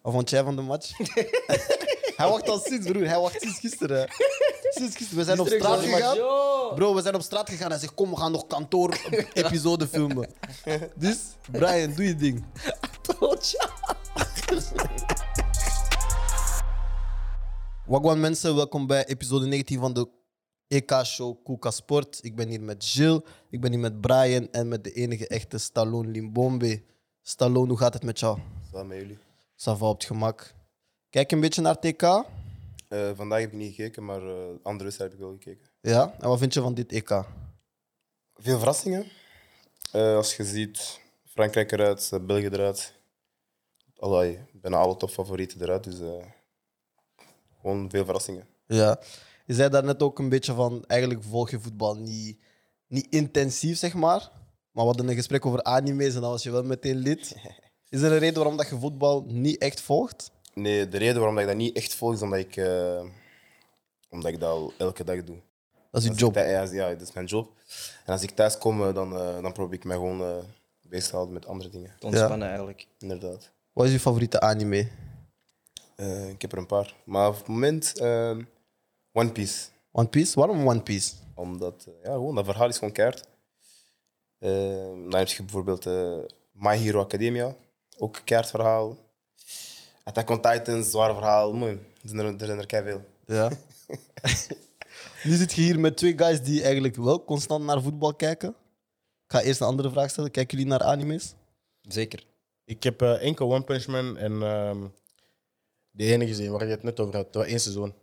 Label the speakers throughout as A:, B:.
A: Wat vond jij van de match? hij wacht al sinds, broer. Hij wacht sinds gisteren. Sinds gisteren. We zijn op straat
B: was de match.
A: gegaan. Bro, we zijn op straat gegaan. Hij zegt, kom, we gaan nog kantoor-episode filmen. Dus, Brian, doe je ding. Wagwan mensen, welkom bij episode 19 van de E EK-show Kuka Sport. Ik ben hier met Gilles, ik ben hier met Brian en met de enige echte Stallone Limbombe. Stallone, hoe gaat het met jou?
C: Samen met jullie.
A: Sava op het gemak. Kijk een beetje naar TK.
C: Eh, vandaag heb ik niet gekeken, maar eh, andere wedstrijden heb ik wel gekeken.
A: Ja, en wat vind je van dit EK?
C: Veel verrassingen. Eh, als je ziet, Frankrijk eruit, eh, België eruit. Allee, bijna alle topfavorieten eruit, dus eh, gewoon veel verrassingen.
A: Ja. Je zei daarnet ook een beetje van, eigenlijk volg je voetbal niet, niet intensief, zeg maar. Maar we hadden een gesprek over anime's en dan was je wel meteen lid. Is er een reden waarom dat je voetbal niet echt volgt?
C: Nee, de reden waarom dat ik dat niet echt volg is omdat ik, eh, omdat ik dat al elke dag doe.
A: Dat is je
C: Als
A: job.
C: ik thij- ja, ja, dat is mijn job. En als ik thuis kom, eh, dan, eh, dan probeer ik mij gewoon eh, bezig te houden met andere dingen.
B: Het Ontspannen eigenlijk.
C: Inderdaad.
A: Wat is je favoriete anime?
C: Eh, ik heb er een paar. Maar op het moment, eh, One Piece.
A: One Piece? Waarom One Piece?
C: Omdat, eh, ja, gewoon, dat verhaal is gewoon keihard. Eh, dan heb je bijvoorbeeld eh, My Hero Academia, ook een keihard verhaal. Attack on Titan, zwaar verhaal. Mooi, er zijn er, er, zijn er keiveel.
A: Ja. nu zit je hier met twee guys die eigenlijk wel constant naar voetbal kijken. Ik ga eerst een andere vraag stellen. Kijken jullie naar anime's?
B: Zeker.
D: Ik heb eh, enkel One Punch Man en ehm, de ene gezien waar je het net over had. Dat was één seizoen.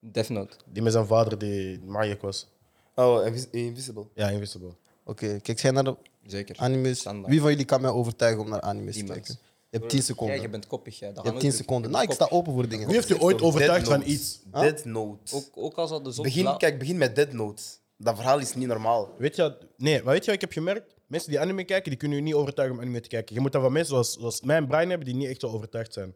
B: Death Note.
D: Die met zijn vader die magic was.
C: Oh, Invis- Invisible.
D: Ja, Invisible.
A: Oké, kijk jij naar de
B: Zeker.
A: anime's?
B: Standaard.
A: Wie van jullie kan mij overtuigen om naar anime's te
B: Niemand.
A: kijken? Je hebt 10 seconden.
B: Jij, je bent koppig. Jij. Dat
A: Je
B: gaan
A: hebt 10
B: we ook
A: seconden.
B: doen.
A: Nou, ik sta open voor dingen.
D: Wie heeft u ooit overtuigd
C: Dead
D: van
C: Note.
D: iets?
C: Dead Note.
B: Ook, ook als dat de zon
C: Begin,
B: blauw-
C: kijk, begin met Dead Note. Dat verhaal is niet normaal.
D: Weet je, wat- nee, maar weet je wat ik heb gemerkt? Mensen die anime kijken, die kunnen je niet overtuigen om anime te kijken. Je moet dat van mensen zoals, zoals mijn brein hebben, die niet echt zo overtuigd zijn.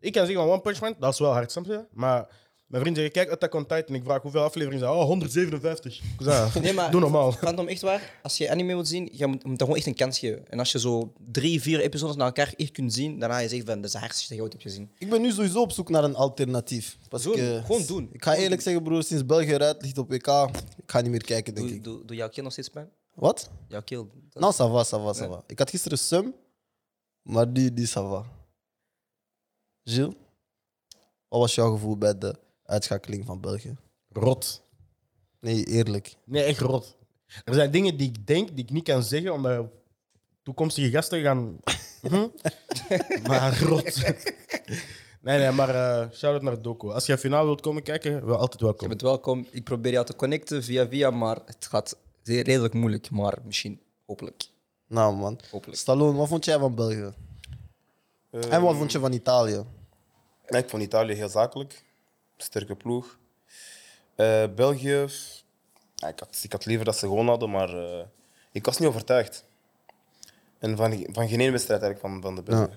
D: Ik kan zeggen van One Punch Man, dat is wel hard, snap je? Maar mijn vrienden zeggen, kijk Attack on Titan. Ik vraag hoeveel afleveringen zijn. Oh, 157. Ik zeg, "Ah,
B: Nee, maar
D: doe normaal.
B: Phantom, echt waar. Als je anime wilt zien, je moet, moet dat gewoon echt een kans geven. En als je zo drie, vier episodes naar elkaar echt kunt zien, daarna je zegt van, dat is de hardste die je ooit hebt gezien.
A: Ik ben nu sowieso op zoek naar een alternatief. Pas
B: Doen.
A: ik, eh,
B: Gewoon doen.
A: Ik ga eerlijk zeggen, broer, sinds België eruit ligt op WK, ik ga niet meer kijken, denk
B: Doe,
A: ik.
B: doe, doe jouw keel nog steeds pijn?
A: Wat?
B: Jouw keel. dat-
A: Nou, ça va, ça va, ça
B: Ja.
A: va. Ik had gisteren Sum, maar die, die, ça va. Gilles, wat was jouw gevoel bij de uitschakeling van België?
D: Rot.
A: Nee, eerlijk.
D: Nee, echt rot. Er zijn dingen die ik denk, die ik niet kan zeggen, omdat toekomstige gasten gaan... Hm? maar rot. Nee, nee, maar eh shout-out naar Doku. Als je een finale wilt komen kijken, wel altijd
B: Je
D: welkom.
B: bent welkom. Ik probeer jou te connecten via via, maar het gaat zeer- redelijk moeilijk. Maar misschien, hopelijk.
A: Nou, man.
B: Hopelijk.
A: Stallone, wat vond jij van België?
C: Eh,
A: En wat vond je van Italië?
C: Ja, ik vond Italië heel zakelijk. Sterke ploeg. Eh, België. f- ja, ik, had, ik had liever dat ze gewonnen hadden, maar eh, ik was niet overtuigd. En van, van geen ene wedstrijd eigenlijk van, van de Belgen.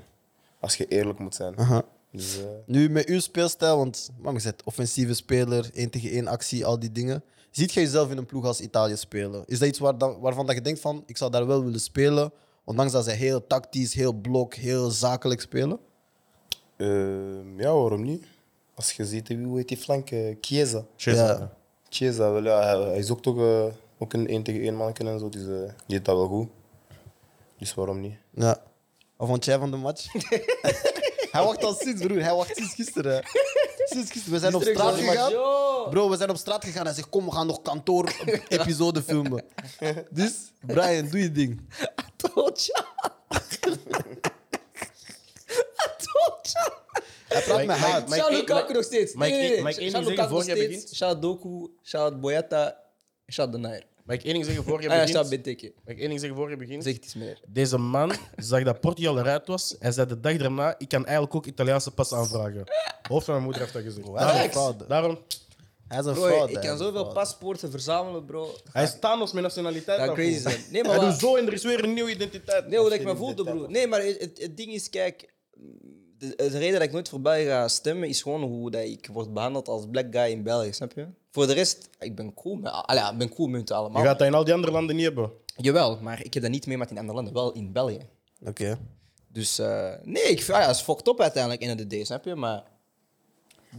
C: Als je eerlijk moet zijn.
A: Aha.
C: Dus, eh,
A: Nu met uw speelstijl, want man, je bent offensieve speler, 1 tegen 1 actie, al die dingen. Ziet jij jezelf in een ploeg als Italië spelen? Is dat iets waar, dan- waarvan dat je denkt van, ik zou daar wel willen spelen, ondanks dat ze heel tactisch, heel blok, heel zakelijk spelen?
C: eh, ja, waarom niet? Als je ziet, wie hoe heet die flank? Eh, Chiesa.
A: Ja.
C: Chiesa, wel, ja, hij, hij is ook toch eh, ook een 1 tegen 1 manneken en zo. Dus eh, die deed dat wel goed. Dus waarom niet?
A: ja. Wat vond jij van de match? hij wacht al sinds, broer. Hij wacht sinds gisteren. Sinds gisteren. We zijn op straat gegaan. Bro, we zijn op straat gegaan. Hij zegt, kom, we gaan nog kantoor-episode filmen. Dus, Brian, doe je ding.
B: Atotja. Atotja.
A: Hij praat met haat.
D: Mike,
B: Shout
D: ik-
B: Lukaku
D: maar-
B: nog steeds.
D: Mike,
B: Nee,
D: ik-
B: nee, nee.
D: Mike, één ding
B: Shout
D: zeggen
B: Lukaku nog
D: voor jij
B: steeds.
D: begint.
B: Shout Doku. Shout Boyata. Shout De Nair.
D: Mag ik één ding zeggen voor je
B: Ah ja,
D: begint?
B: shout Benteke.
D: Mag ik één ding zeggen voor je begint?
B: Zeg het eens meer.
D: Deze man zag dat Portugal eruit was en zei de dag daarna, ik kan eigenlijk ook Italiaanse pas aanvragen. Hoofd van mijn moeder heeft dat gezegd.
A: Hij is een
D: Daarom,
A: fraude.
D: daarom
A: Hij is een
B: Bro,
A: fraude.
B: ik
A: hij
B: kan
A: is een
B: zoveel
A: fraude.
B: paspoorten verzamelen, bro.
D: hij is Thanos met nationaliteit.
B: Dat
D: daarvoor.
B: crazy zijn. Nee, maar
D: Hij
B: wat-
D: doet zo en er is weer een nieuwe identiteit.
B: Nee, hoe dat ik me voelde, bro. Nee, maar het, het- het ding is, kijk... De, de reden dat ik nooit voor België ga stemmen is gewoon hoe dat ik word behandeld als black guy in België, snap je? Voor de rest, ik ben cool met, allee, ja, ik ben cool met het
D: Je
B: allemaal.
D: gaat dat in al die andere landen niet hebben.
B: Jawel, maar ik heb dat niet meemaakt in andere landen, wel in België.
A: Oké.
B: Dus eh, nee, ik, vind- ah, ja, het is fucked up uiteindelijk in de day, snap je? Maar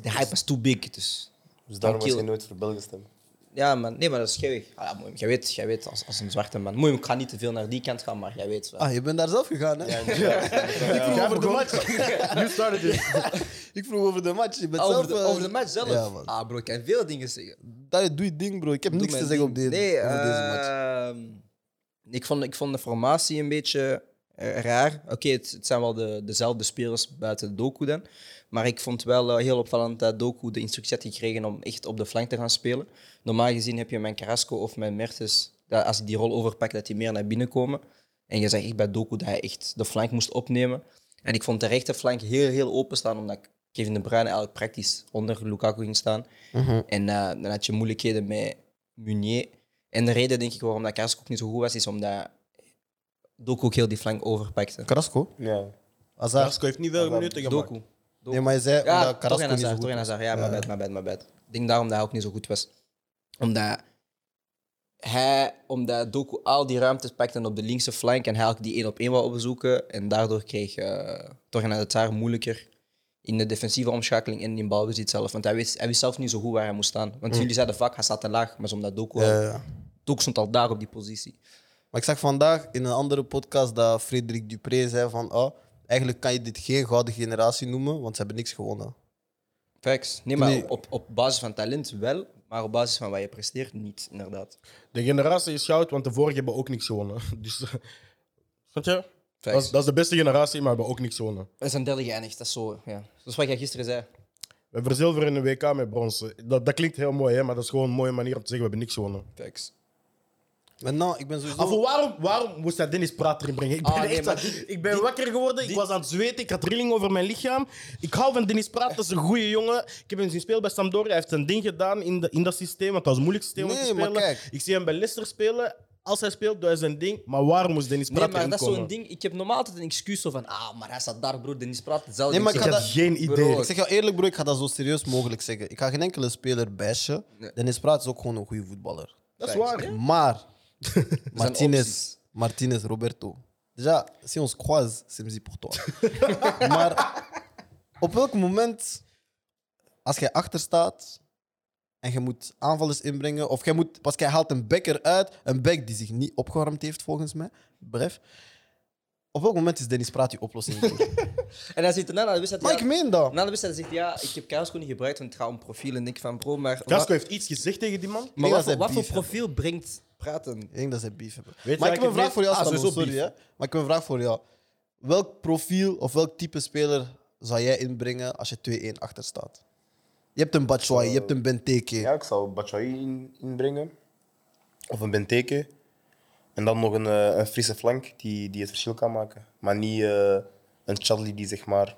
B: de hype is too big, dus...
C: Dus daarom was
B: Dank
C: je
B: je.
C: nooit voor België stemmen.
B: Ja, man. Nee, maar dat is gek. Ah, ja, mooi. jij weet, jij weet als, als een zwarte man. Mooi, ik ga niet te veel naar die kant gaan, maar jij weet wel.
A: Ah, je bent daar zelf gegaan, hè? ik vroeg over de match.
D: You started it.
A: Ik vroeg over de match. Je bent
B: over,
A: zelf,
B: de,
A: eh,
B: over de match zelf?
A: Ja, man.
B: ah, bro, ik kan veel dingen zeggen.
A: Dat, doe je ding, bro. Ik heb
B: Doe
A: niks te
B: mijn
A: zeggen op
B: ding.
A: deze,
B: nee,
A: over deze match.
B: ehm, ik, vond, ik vond de formatie een beetje eh, raar. Oké, het, het zijn wel de, dezelfde spelers buiten Doku dan. Maar ik vond wel eh, heel opvallend dat Doku de instructie had gekregen om echt op de flank te gaan spelen. Normaal gezien heb je mijn Carrasco of mijn Mertens, dat als ik die rol overpak, dat die meer naar binnen komen. En je zag echt bij Doku dat hij echt de flank moest opnemen. En ik vond de rechterflank heel, heel openstaan, omdat Kevin De Bruyne eigenlijk praktisch onder Lukaku ging staan.
A: Mhm.
B: En eh, dan had je moeilijkheden met Munier. En de reden, denk ik, waarom dat Carrasco ook niet zo goed was, is omdat Doku ook heel die flank overpakte.
A: Carrasco?
C: Ja.
A: Azar.
D: Carrasco heeft niet veel minuten gemaakt.
B: Doku.
A: Nee, maar je zei
B: Ja,
A: omdat
B: toch
A: Carrasco
B: een
A: niet zo
B: Hazard,
A: goed
B: toch een
A: was.
B: Hazard. Ja, maar bad, maar bad, maar bad. Ik denk daarom dat hij ook niet zo goed was. Omdat hij, omdat Doku al die ruimtes pakte op de linkse flank en hij ook die één op één wou opzoeken. En daardoor kreeg eh toch een Hazard moeilijker in de defensieve omschakeling en in balbezit zelf. Want hij wist, hij wist zelf niet zo goed waar hij moest staan. Want jullie zeiden vaak, hij staat te laag. Maar is omdat Doku,
A: Mm. Ja,
B: al-
A: ja.
B: Doku stond al daar op die positie.
A: Maar ik zag vandaag in een andere podcast dat Frederik Dupré zei van oh, eigenlijk kan je dit geen gouden generatie noemen, want ze hebben niks gewonnen.
B: Facts. Nee, maar
A: Nee.
B: Op, op basis van talent wel, maar op basis van wat je presteert niet, inderdaad.
D: De generatie is goud, want de vorige hebben ook niks gewonnen. Dus, eh, snap je?
B: Facts.
D: Dat is, dat is de beste generatie, maar hebben ook niks gewonnen.
B: We zijn derde geëindigd, dat is zo. Ja. Zoals wat jij gisteren zei.
D: We verzilveren een WK met bronzen. Dat, dat klinkt heel mooi, hè, maar dat is gewoon een mooie manier om te zeggen: we hebben niks gewonnen.
B: Facts.
A: Maar nou, ik ben sowieso...
D: Ah, voor waarom, waarom moest dat Dennis Praat erin brengen? Ik ben,
B: Ah, nee,
D: echt
B: maar
D: aan- ik ben wakker geworden, ik was aan het zweten, ik had rilling over mijn lichaam. Ik hou van Dennis Praat, dat is een goede jongen. Ik heb hem zien spelen bij Sampdoria, hij heeft zijn ding gedaan in, de, in dat systeem, want dat was een moeilijk systeem om
A: Nee,
D: te
A: maar
D: spelen.
A: kijk.
D: Ik zie hem bij Leicester spelen, als hij speelt doet hij zijn ding, maar waarom moest Dennis
B: Nee,
D: Praat
B: maar
D: erin
B: dat is
D: komen?
B: zo'n ding. Ik heb normaal altijd een excuus zo van, ah, maar hij staat daar, broer, Dennis praat hetzelfde.
A: Nee, maar
D: Ik
A: Ik ga
D: had
A: dat-
D: geen idee.
A: Ik zeg jou eerlijk, bro, ik ga dat zo serieus mogelijk zeggen. Ik ga geen enkele speler bashen. Dennis Praat is ook gewoon een goede voetballer.
D: dat is waar.
A: Maar Martinez,
B: opties.
A: Martinez, Roberto. Déjà, si on se croise, c'est misi pour toi. maar op welk moment, als jij achter staat en je moet aanvallers inbrengen, of jij moet, pas jij haalt een back eruit, een back die zich niet opgewarmd heeft volgens mij, bref. Op welk moment is Dennis Praat je oplossing?
B: En hij zit erna, dan wist hij...
A: maar
B: ja,
A: ik meen dat.
B: na de wedstrijd zegt hij, ja, ik heb Carrasco niet gebruikt, want het gaat om profiel. En ik van, bro, maar...
D: Casco
B: wa-
D: heeft iets gezegd tegen die man.
A: Nee,
B: maar wat,
A: dat
B: voor-
A: is
B: wat voor
A: beef, hè.
B: profiel brengt praten?
A: Ik denk dat zij beef hebben.
D: Weet je
A: maar
D: waar
A: ik heb een
D: ik
A: vraag
D: het
A: voor jou,
D: meest- Ah,
A: Stano,
D: sowieso
A: sorry. Hè? Maar ik heb een vraag voor jou. Welk profiel of welk type speler zou jij inbrengen als je 2-1 achter staat? Je hebt een Batshuayi, je hebt een Benteke.
C: Ja, ik zou Batshuayi in, inbrengen. Of een Benteke. En dan nog een, eh, een Friese flank die, die het verschil kan maken. Maar niet eh, een Chadli die zeg maar,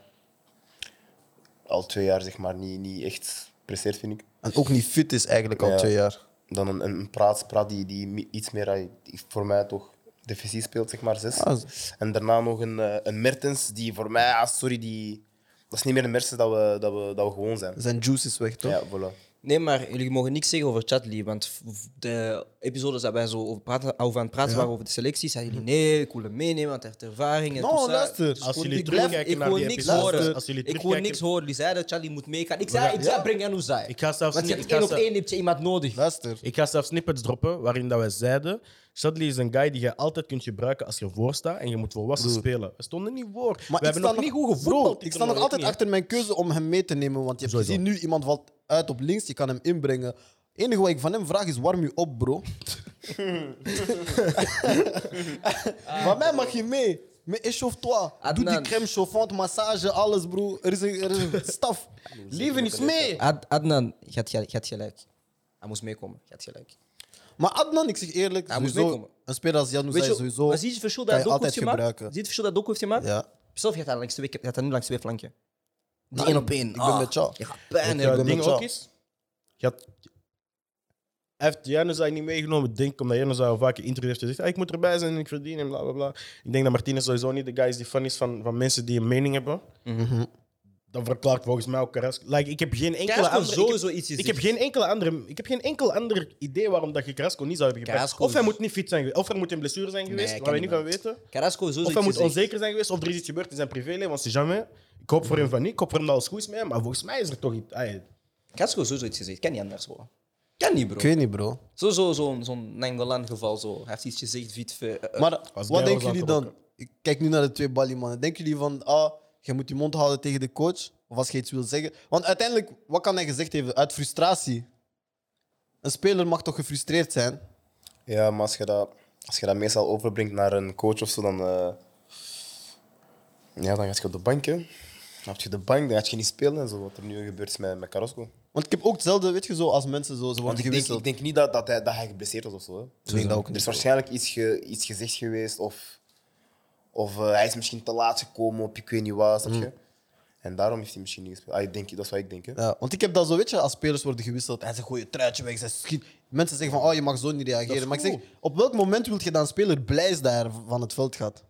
C: al twee jaar zeg maar, niet, niet echt presteert, vind ik.
A: En ook niet fit is eigenlijk al
C: Ja.
A: twee jaar.
C: Dan een, een praat, praat die, die mi- iets meer eh, die voor mij toch defensie speelt, zeg maar zes.
A: Ah,
C: En daarna nog een, eh, een Mertens die voor mij, ah, sorry, die, dat is niet meer een Mertens dat we, dat we, dat we gewoon zijn.
A: Zijn juice is weg, toch?
C: Ja, voilà.
B: Nee, maar jullie mogen niks zeggen over Chatli, want v- v- de episodes dat wij zo over, praten, over aan het praten waren over de selecties, zeiden jullie nee, ik wil hem meenemen, want hij heeft ervaring. En
A: No,
B: tout ça.
A: luister.
B: Dus
D: Als
B: gewoon-
D: jullie
B: ik blijf-
D: terugkijken
B: ik
D: naar
B: wil
D: die
B: niks
D: episodes,
B: horen.
D: als jullie
B: Ik wil
D: terugkijken-
B: niks horen. Jullie zeiden dat Chatli moet meegaan. Ik zei, ik zei breng Anouzaï.
D: Ik ga zelfs
B: Want je hebt
D: niet- ik ga
B: één op
D: zelf-
B: één heb je iemand nodig.
A: Luister.
D: Ik ga zelf snippets droppen waarin dat wij zeiden. Shadley is een guy die je altijd kunt gebruiken als je voor staat en je moet volwassen spelen. We stonden niet voor.
A: Maar
D: we
A: ik
D: hebben
A: sta
D: nog niet goed gevoetbald.
A: Bro,
D: dit
A: ik sta nog
D: toernooi,
A: altijd
D: ook niet,
A: achter mijn keuze om hem mee te nemen. Want je hebt
D: Sowieso.
A: gezien, nu iemand valt uit op links, je kan hem inbrengen. Het enige wat ik van hem vraag is, warm je op, bro. van mij mag je mee. Maar échauffe-toi. Doe die
B: Adnan.
A: crème chauffante, massage, alles, bro. Er is een, er is een staf.
D: hè. Leven is mee.
B: Ad- Adnan, je had, ge- je had gelijk. Hij moest meekomen. Je had gelijk.
A: Maar Adnan, ik zeg eerlijk,
B: Hij moet
A: sowieso,
B: meekomen.
A: een speler als Jan zei sowieso...
B: maar zie je het verschil
A: kan
B: dat
A: je
B: Doku heeft
A: altijd
B: gemaakt? Zie
A: gebruiken.
B: je het verschil dat Doku heeft gemaakt?
A: Ja.
B: Zelf, je had dat langs twee- je had dat nu langs twee flanken. Die
A: Daarom,
B: één op één.
A: ik ben
B: Ah,
A: met jou.
B: Je gaat
A: ben
B: pijn
D: Ja,
B: hebben.
D: het ding
A: met jou.
D: ook is. Je had, hij heeft Januzaj niet meegenomen, denk ik, omdat Januzaj al vaak in interviews heeft gezegd: "Ah, ik moet erbij zijn en ik verdien en bla bla bla. Ik denk dat Martinez sowieso niet de guy is die fan is van, van mensen die een mening hebben. dat verklaart volgens mij ook Carrasco. Like, ik heb geen enkele
B: Carrasco
D: andere... ik heb-
B: sowieso iets is
D: Ik heb,
B: dit.
D: geen enkele andere, ik heb geen enkel ander idee waarom dat je Carrasco niet zou hebben gepakt.
B: Carrasco
D: of hij
B: is-
D: moet niet fit zijn geweest, of er moet een blessure zijn geweest,
B: ik
D: waar
B: ken
D: we niet
B: die
D: van weten.
B: Carrasco is sowieso
D: Of hij
B: iets
D: moet
B: gezegd.
D: onzeker zijn geweest, of er is iets gebeurd in zijn privéleven, want c'est jamais. Ik hoop voor hem van niet, ik hoop voor hem dat alles goed is met hem, maar volgens mij is er toch iets... ai,
B: Carrasco is sowieso iets gezegd. Kan niet anders, bro. Kan niet, bro.
A: Ik weet niet, bro.
B: Zo, zo, zo'n zo'n Nangolan geval. Zo. Hij heeft iets gezegd, Viet. eh, eh,
A: Maar
D: was
A: wat
D: Gerald
A: denken
D: aan
A: jullie
D: het
A: dan? Ik kijk nu naar de twee balie mannen. Denken jullie van, ah, je moet je mond houden tegen de coach? Of als je iets wil zeggen? Want uiteindelijk, wat kan hij gezegd hebben? Uit frustratie. Een speler mag toch gefrustreerd zijn?
C: Ja, maar als je, dat, als je dat meestal overbrengt naar een coach of zo, dan. eh, ja, dan gaat je op de bank. Hè. Dan heb je de bank, dan gaat je niet spelen en zo. Wat er nu gebeurt is met, met Carrasco.
A: Want ik heb ook hetzelfde, weet je, zo, als mensen zo, ze
C: Want
A: worden
C: ik denk,
A: gewisseld.
C: ik denk niet dat, dat, hij, dat hij geblesseerd was of zo. Hè.
A: Ik denk dat ook
C: Er is
A: niet.
C: waarschijnlijk iets, ge- iets gezegd geweest of, of eh, hij is misschien te laat gekomen op ik weet niet wat. snap je? En daarom heeft hij misschien niet gespeeld. Ah, ik denk, dat is wat ik denk. Hè.
A: Hmm. Ja, want ik heb dat zo, weet je, als spelers worden gewisseld en ze gooien het truitje weg, ze schiet. Mensen zeggen van, oh, je mag zo niet reageren. Maar ik zeg, op welk moment wil je dan een speler blij is dat hij er van het veld gaat?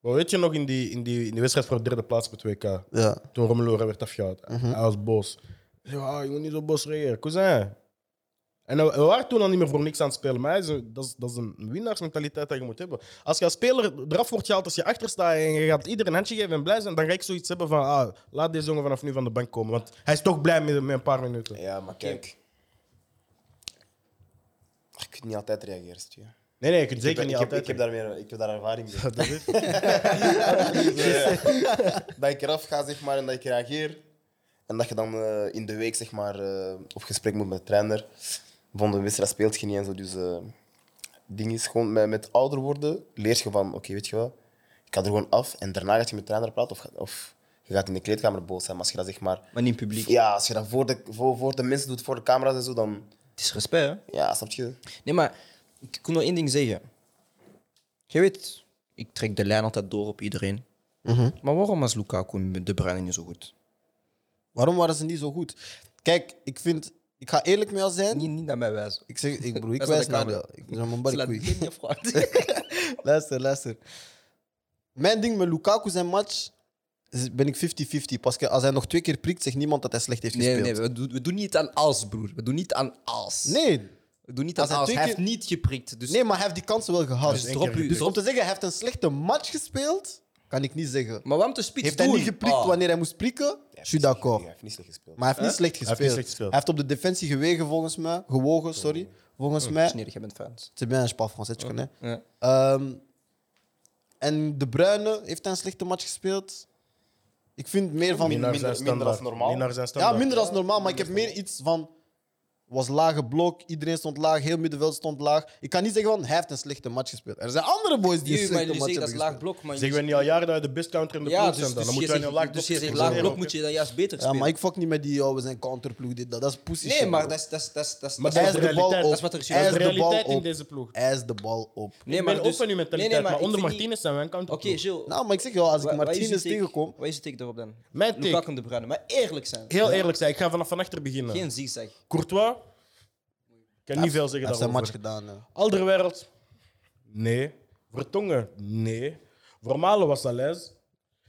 D: Maar weet je nog in die, in die, in die wedstrijd voor de derde plaats op het WK?
A: Ja.
D: Toen Romelu werd afgehaald.
C: Mhm.
D: Hij was boos. Ik zei, "Ah, je moet niet zo boos reageren, cousin. En we we waren toen al niet meer voor niks aan het spelen. Maar hij is een- dat, is, dat is een winnaarsmentaliteit dat je moet hebben. Als je als speler eraf wordt gehaald, als je achter staat en je gaat iedereen een handje geven en blij zijn, dan ga ik zoiets hebben van ah, laat deze jongen vanaf nu van de bank komen. Want hij is toch blij met, met een paar minuten.
C: Ja, maar kijk. Je kunt niet altijd reageren. snap je.
D: Nee, nee, je kunt
C: Ik
D: zeker
C: heb,
D: niet
C: ik, heb,
D: altijd.
C: ik, heb daar meer, ik heb daar ervaring mee.
D: Dat is het.
C: dat ik eraf ga zeg maar, en dat ik reageer. En dat je dan eh, in de week zeg maar, eh, op gesprek moet met de trainer. Vond een wedstrijd speelt je niet en zo. Dus eh ding is gewoon met, met ouder worden leer je van: oké, weet je wat, ik ga er gewoon af en daarna gaat je met de trainer praten. Of, ga- of je gaat in de kleedkamer boos zijn. Maar als je dat zeg maar.
B: Maar niet in publiek.
C: Ja, als je dat voor de, voor, voor de mensen doet, voor de camera's en zo, dan.
B: Het is respect, hè?
C: Ja, snap je?
B: Nee, maar ik kon nog één ding zeggen. Je weet, ik trek de lijn altijd door op iedereen.
A: Mhm.
B: Maar waarom was Lukaku en De Bruyne niet zo goed?
A: Waarom waren ze niet zo goed? Kijk, ik vind, ik ga eerlijk met jou zijn.
B: Niet, niet naar mij wijzen.
A: Ik zeg, ik broer, ik
B: Dat is
A: wijs
B: aan de
A: naar
B: camera.
A: jou. Ik ben mijn
B: Ze laat
A: barkoei.
B: geen vraag.
A: Luister, luister. Mijn ding met Lukaku zijn match is- ben ik 50-50. Pas als hij nog twee keer prikt, zegt niemand dat hij slecht heeft
B: Nee,
A: gespeeld.
B: nee, we doen, we doen niet aan als, broer. We doen niet aan als.
A: nee,
B: We doen niet aan
A: Als
B: als.
A: hij
B: Hij,
A: twee
B: heeft niet geprikt. Dus,
A: nee, maar hij heeft die kansen wel gehad.
B: dus
A: Dus,
B: drop u.
A: om
B: Drop.
A: te zeggen, hij heeft een slechte match gespeeld, kan ik niet zeggen.
B: Maar waarom te spits
A: Heeft
B: doen?
A: hij niet geprikt
B: Ah.
A: wanneer hij moest prikken? Je suis d'accord.
C: Hij heeft niet slecht gespeeld.
A: Maar hij heeft niet slecht
D: heeft niet
A: gespeeld.
D: slecht gespeeld.
A: Hij heeft op de defensie gewegen, volgens mij. Gewogen,
B: Oh.
A: sorry. Volgens mij.
B: Sneerig, jij bent fans.
A: C'est bien, je parle français, tu connais.
B: Oh, Ja.
A: Ehm, en De Bruyne heeft hij een slechte match gespeeld. Ik vind meer van...
D: Minder, zijn
C: minder
D: standaard.
C: als normaal.
D: Minder zijn
A: ja,
D: standaard.
A: minder als normaal, maar ik heb meer iets van... Was lage blok, iedereen stond laag, heel middenveld stond laag. Ik kan niet zeggen van, hij heeft een slechte match gespeeld. Er zijn andere boys die een
B: Jullie, maar
A: slechte
B: jullie
A: match
B: zeggen
A: hebben
B: dat is
A: gespeeld.
B: laag blok. Maar
D: Zeggen we
B: jullie-
D: niet al jaren dat we de best counter in de
B: Ja,
D: pool
B: dus,
D: zijn? Dan,
B: dus
D: dan
B: je
D: moeten wij
B: zegt,
D: een laag
B: dus je
D: blok-
B: zegt laag blok,
D: Oké.
B: moet je dan juist beter
A: Ja,
B: spelen.
A: maar ik fuck niet met die, oh, we zijn counterploeg, dit, dat. Dat is pussy
B: Nee,
A: shit,
B: maar
A: bro.
B: dat is- dat is- dat is- dat is...
D: Maar
B: dat is-
A: Hij is
D: de
A: de bal
D: realiteit.
A: op.
D: Dat
B: is wat er is.
A: Hij
D: Dat is de
A: de bal
D: realiteit in
A: op.
D: deze ploeg.
A: Hij is de bal op.
B: Nee,
D: ik
B: maar
D: ben ook
B: dus-
D: van uw mentaliteit,
B: Nee, nee,
D: maar,
B: ik
D: onder
B: vind
D: Martinez zijn we een counter.
B: Oké, Gilles.
A: Nou, maar ik zeg wel, als ik
B: wa- wa- is je
A: Martinez
B: take?
A: tegenkom...
B: Wat is je take daarop dan?
D: Mijn take?
B: Lukaku en De Bruyne. Maar eerlijk zijn.
D: Heel eerlijk zijn, ik ga vanaf van achter beginnen.
B: Geen zigzag.
D: Courtois, ik kan niet veel zeggen
A: Hij heeft zijn match
D: daarover.
A: gedaan. hè.
D: Alderwereld, nee. Vertongen, nee. Vermalen was Alaise.
A: Hij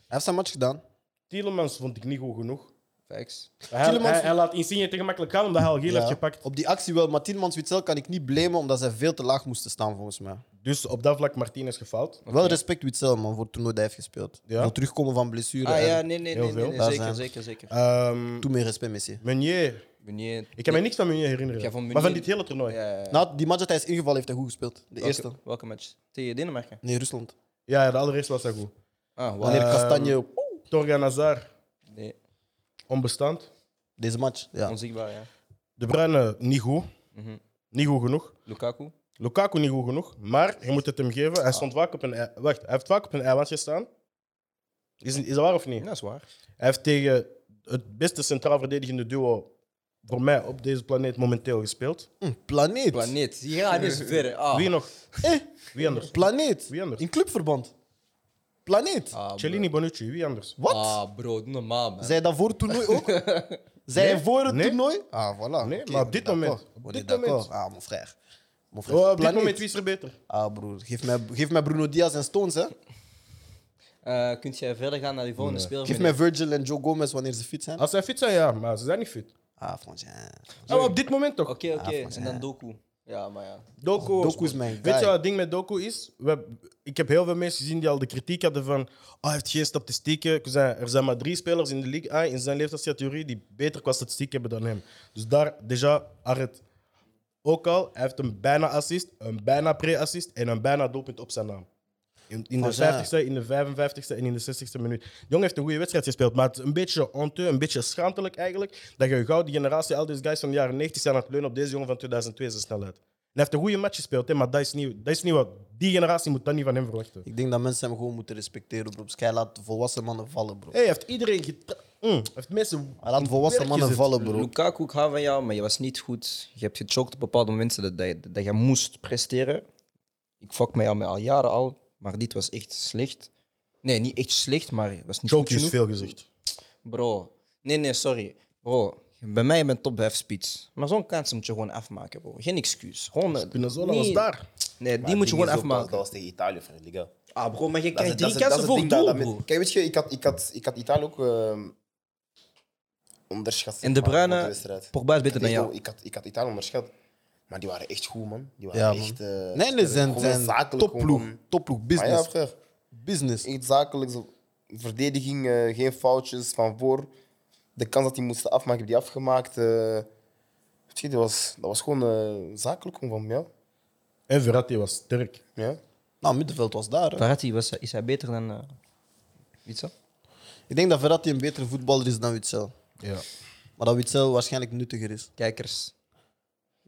A: heeft zijn match gedaan.
D: Tielemans vond ik niet goed genoeg.
B: Facts.
D: Hij,
A: Tielemans-
D: hij, hij laat Insigne te gemakkelijk gaan omdat hij al geel
A: Ja.
D: heeft gepakt.
A: Op die actie wel, maar Tienmans Witzel kan ik niet blamen omdat zij veel te laag moesten staan, volgens mij.
D: Dus op dat vlak Martinez gefaald.
A: Wel respect Witzel, man, voor het toernooi dat hij heeft gespeeld.
D: Ja.
A: Voor terugkomen van blessure.
B: Ah
A: en
B: ja, nee, nee,
D: heel
B: nee, nee,
D: veel.
B: nee,
A: Daar
B: zeker,
A: zijn-
B: zeker, zeker.
D: Ehm
A: Toe meer respect, Messi.
D: Meunier.
B: Meneer,
D: Ik kan me niks van Meunier herinneren.
B: Ja, van
D: Maar van
B: Meunier-
D: dit hele toernooi. Ja,
B: Ja, ja, ja.
A: Nou, die match dat hij is ingevallen, heeft hij goed gespeeld. De eerste.
B: Welke, welke match? Tegen Denemarken.
A: Nee, Rusland.
D: ja de allereerste was hij goed.
B: Ah, wow.
A: Wanneer
D: Ehm,
A: Kastanje...
D: Torgan Hazard,
B: Nee,
D: onbestand.
A: Deze match, ja.
B: onzichtbaar, ja.
D: De Bruyne, niet goed.
B: Mhm.
D: Niet goed genoeg.
B: Lukaku.
D: Lukaku niet goed genoeg, maar je moet het hem geven. Hij stond vaak op een ei- wacht, hij heeft vaak op een eiland gestaan. Is, is dat waar of niet?
B: Ja, dat is waar.
D: Hij heeft tegen het beste centraal verdedigende duo voor mij op deze planeet momenteel gespeeld.
A: Hm, planeet. Planeet.
B: Planeet. Ja, gaat is verder. Ah.
D: Wie nog?
A: Eh,
D: Wie anders? Wie anders?
A: In clubverband. Planeet.
B: Ah, bro.
D: Cellini Bonucci, wie anders?
A: Wat?
B: Ah, bro, doe normaal, man.
A: Zij dat voor het toernooi ook? Zij
D: Nee.
A: voor het
D: Nee.
A: toernooi? Ah, voilà.
D: Nee,
A: Oké,
D: maar op dit
A: d'accord.
D: moment. Op
A: On
D: dit
A: est d'accord.
D: moment.
A: Ah, mon frère. Mon frère.
D: Oh, op dit
A: Planeet.
D: moment, wie is er beter?
A: Ah, broer. Geef mij, geef mij Bruno Diaz en Stones, hè.
B: eh kunt jij verder gaan naar die volgende speler?
A: Geef mij Virgil en Joe Gomez wanneer ze fit zijn.
D: Als zij fit zijn, ja, maar ze zijn niet fit.
A: Ah, Fransje.
D: Ja, maar op dit moment toch?
B: Oké, oké.
A: Ah, volgens
B: En dan Doku. Ja, maar ja.
D: Doku,
A: Doku is mijn
D: Weet
A: guy.
D: je wat het ding met Doku is? We, hebben- ik heb heel veel mensen gezien die al de kritiek hadden van oh, hij heeft geen statistieken. Er zijn, er zijn maar drie spelers in de league A in zijn leeftijdscategorie die beter qua statistiek hebben dan hem. Dus daar, déjà, Arret. Ook al, hij heeft een bijna assist, een bijna pre-assist en een bijna doelpunt op zijn naam. In, in de
A: Van zijn.
D: 50ste, in de 55ste en in de 60ste minuut. De jongen heeft een goede wedstrijd gespeeld, maar het is een beetje honteux, een beetje schaamtelijk eigenlijk. Dat je gauw die generatie, al deze guys van de jaren 90 zijn aan het leunen op deze jongen van 2002 zijn snelheid. En hij heeft een goede match gespeeld, hè, maar dat is, niet, dat is niet wat. Die generatie moet dat niet van hem verwachten.
A: Ik denk dat mensen hem gewoon moeten respecteren, bro. Sky laat volwassen mannen vallen, bro.
D: Hey, hij heeft iedereen getra- Mm, hij heeft mensen.
A: Hij laat volwassen
D: werk
A: mannen
D: gezet.
A: vallen, bro.
B: Lukaku, ik hou van jou, maar je was niet goed. Je hebt gechokt op bepaalde momenten dat, dat, je- dat je moest presteren. Ik fuck mij al, met al jaren al, maar dit was echt slecht. Nee, niet echt slecht, maar het was niet goed
D: Jokie
B: genoeg.
D: is veel gezegd.
B: Bro, nee, nee, sorry. Bro, bij mij bent top 5 spits. Maar zo'n kans moet je gewoon afmaken, bro. Geen excuus. Gewoon, eh,
D: Spinazzola
B: nee.
D: was daar.
B: Nee,
C: Maar
B: die moet je
C: het
B: gewoon
C: ding is ook,
B: afmaken.
C: Dat was tegen Italië, vriend. Liga.
B: Ah, bro, maar je
C: Dat is-
B: krijgt
C: dat is-
B: drie
C: dat is
B: kansen
C: het
B: voor
C: ding dat-
B: doel,
C: dat
B: bro.
C: men- Kijk, weet je, ik had, ik had, ik had Italië ook ehm onderschat.
B: En De
C: zeg maar, voor
B: Bruyne,
C: Ah, wedstrijd.
B: Pogba is beter dan
C: Ik had-
B: jou.
C: Ik had, ik had Italië onderschat. Maar die waren echt goed, man. Die waren
A: Ja, man.
C: echt... eh,
A: Nee, nee, zijn,
C: gewoon
A: zijn
C: zakelijk
A: topploeg.
C: gewoon.
A: Topploeg,
C: Maar ja,
A: business.
C: frère,
A: Business.
C: echt zakelijk. zo. Verdediging, eh, geen foutjes van voor. De kans dat die moesten afmaken, heb die afgemaakt. eh. Weet je, dat was, dat was gewoon eh, zakelijk gewoon van ja.
D: En Verratti was sterk.
C: ja.
A: Nou, middenveld was daar. hè.
B: Verratti, was, is hij beter dan... eh Witzel?
A: Ik denk dat Verratti een betere voetballer is dan Witzel.
D: Ja.
A: Maar dat Witzel waarschijnlijk nuttiger is.
B: Kijkers.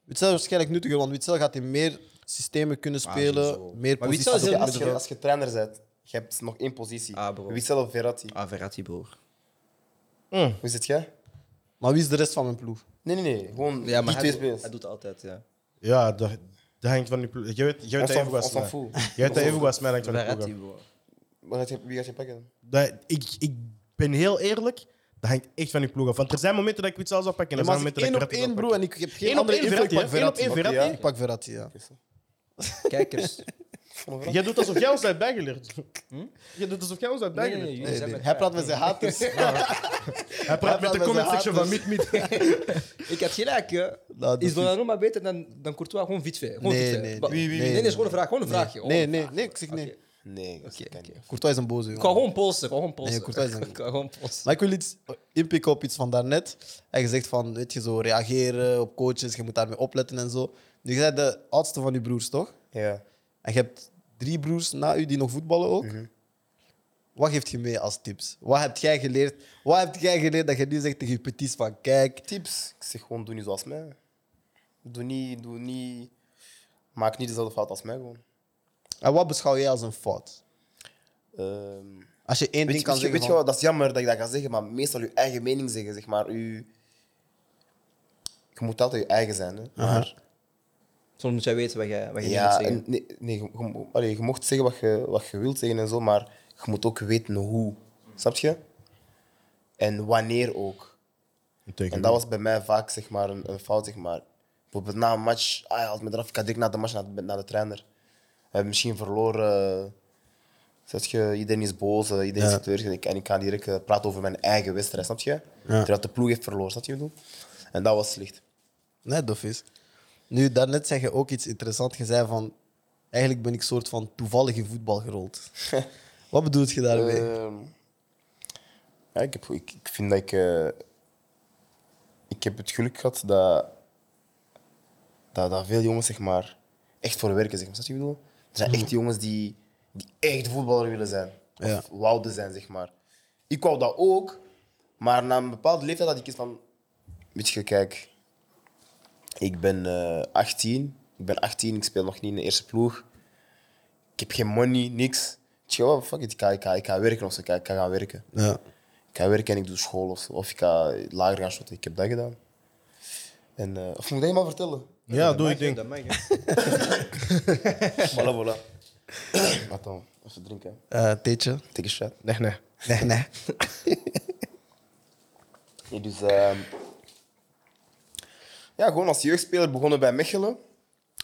A: Witzel is waarschijnlijk nuttiger, want Witzel gaat in meer systemen kunnen
C: Ah,
A: spelen. meer
B: Maar
A: posities
B: Witzel is
A: op het
C: Als
B: heel
C: je, als, je,
A: middenveld.
C: als je trainer bent, je hebt nog één positie.
B: Ah, bro.
C: Wie zelf Verratti?
B: Ah, Verratti, broer. Ah.
C: Hoe zit jij?
A: Maar wie is de rest van mijn ploeg?
C: Nee, nee, nee. Gewoon
B: Ja, maar hij,
C: die twee
B: doet-
C: spelers.
B: hij doet altijd, ja.
D: Ja, dat, dat hangt van die ploeg. Je weet, je
C: Ons
D: weet dat
C: van-
D: even was
C: ons van
D: mij.
C: voel.
D: Je weet dat even was mij, dat hangt van die ploeg.
B: Verratti,
D: af.
B: broer.
C: Wat gaat je- Wie gaat je pakken?
D: Dat, ik, ik ben heel eerlijk, dat hangt echt van die ploeg af. Want er zijn momenten dat ik iets zou pakken en er
A: maar
D: zijn
A: als ik
D: momenten
A: één
D: dat
A: op
D: ik
A: één,
D: Verratti zou
A: bro, en
D: pakken.
A: ik heb
D: Eén
A: geen
D: op
A: andere
D: één
A: invloed, ik
D: Verratti,
A: pak
D: hè? Eén op
A: Verratti.
D: één
A: man.
D: Verratti.
C: Oké, ja.
A: Ik pak Verratti, ja.
B: Kijkers.
D: Jij doet alsof jij ons hebt bijgeleerd. Hm? Je doet alsof jij ons hebt
B: Nee, nee,
D: bijgeleerd.
B: nee, jullie
A: Nee,
B: zijn
A: nee.
B: met
A: Hij praat
B: mij.
A: met zijn haters.
D: Hij praat met de
A: met
D: comment
A: zijn
D: section van
A: haters.
D: Miet Miet.
B: Ik had gelijk, hè.
A: dat
B: Is
A: is-
B: Donnarumma beter dan, dan Courtois? Gewoon Vitve. Gewoon
A: Nee,
B: Vitve.
A: nee,
B: Ba-
A: nee, nee,
B: nee,
A: nee.
B: is gewoon een vraag. Gewoon een vraagje.
A: Nee,
B: gewoon een
A: nee,
B: vraag.
A: nee, ik zeg nee.
B: Oké.
C: Nee, dat
B: Oké,
C: kan
B: oké.
C: niet.
A: Courtois is een boze
B: Ik
A: jongen.
B: wou gewoon polsen. Gewoon polsen.
A: Nee, Courtois is een-
B: Ik wou gewoon polsen.
A: Maar ik wil iets inpikken op iets van daarnet. Hij gezegd van, weet je, zo reageren op coaches, je moet daarmee opletten en zo. Nu, je bent de oudste van je broers, toch?
C: Ja.
A: En je hebt drie broers na u die nog voetballen ook.
B: Mhm.
A: Wat geeft je mee als tips? Wat heb jij geleerd? Wat heb jij geleerd dat je nu zegt tegen je petits van, kijk...
C: Tips. Ik zeg gewoon, doe niet zoals mij. Doe niet, doe niet... Maak niet dezelfde fout als mij gewoon.
A: En wat beschouw jij als een fout?
C: Ehm,
A: Als je één
C: weet,
A: ding kan
C: je- weet, je-
A: zeggen
C: weet je
A: van-
C: wel, dat is jammer dat ik dat ga zeggen, maar meestal je eigen mening zeggen, zeg maar. Je, je moet altijd je eigen zijn, hè. Maar,
B: Soms moet jij weten wat jij, wat jij niet
C: ja,
B: moet zeggen.
C: en nee, nee, je, je, allee, je mocht zeggen wat je, wat je wilt zeggen en zo, maar je moet ook weten hoe. Snap je? En wanneer ook. En dat was bij mij vaak zeg maar, een, een fout. Zeg maar. Bijvoorbeeld na een match, ah, ja, als me eraf, ik ga direct na de match naar de, naar de trainer. We hebben misschien verloren. eh, Zet je, iedereen is boos, eh, iedereen is teleurgesteld. Ik- En ik ga direct eh, praten over mijn eigen wedstrijd, snap je? Terwijl de ploeg heeft verloren, snap je wat ik bedoel? En dat was slecht.
A: Nee, dof is. Nu, daarnet zeg je ook iets interessants. Je zei van, eigenlijk ben ik soort van toevallig in voetbal gerold. Wat bedoelt je daarmee?
C: Ehm, ja, ik, heb, ik, ik vind dat ik... eh, ik heb het geluk gehad dat, dat, dat veel jongens zeg maar, echt voor werken. Zeg maar. Snap je wat ik bedoel? Er zijn echt jongens die, die echt voetballer willen zijn. Of
A: Mhm. Ja.
C: wouden zijn, zeg maar. Ik wou dat ook, maar na een bepaalde leeftijd had ik iets van... Weet je, kijk... Ik ben eh, 18. Ik ben 18, ik speel nog niet in de eerste ploeg. Ik heb geen money, niks. Ik zeg, oh, fuck it, ik ga, ik ga, ik ga werken of zo. Ik ga, ik ga gaan werken.
A: Ja.
C: Ik ga werken en ik doe school of zo. Of ik ga lager gaan shotten. Ik heb dat gedaan. En, eh, of moet ik dat helemaal vertellen?
D: Ja, doe ik ding.
B: Dat mag, hè.
C: Voilà, voilà. Attends, even drinken.
A: Eh, Teetje?
C: Take a shot.
D: Nee, nee.
A: Nee, nee.
C: Nee, dus, ehm, ja, gewoon als jeugdspeler begonnen bij Mechelen.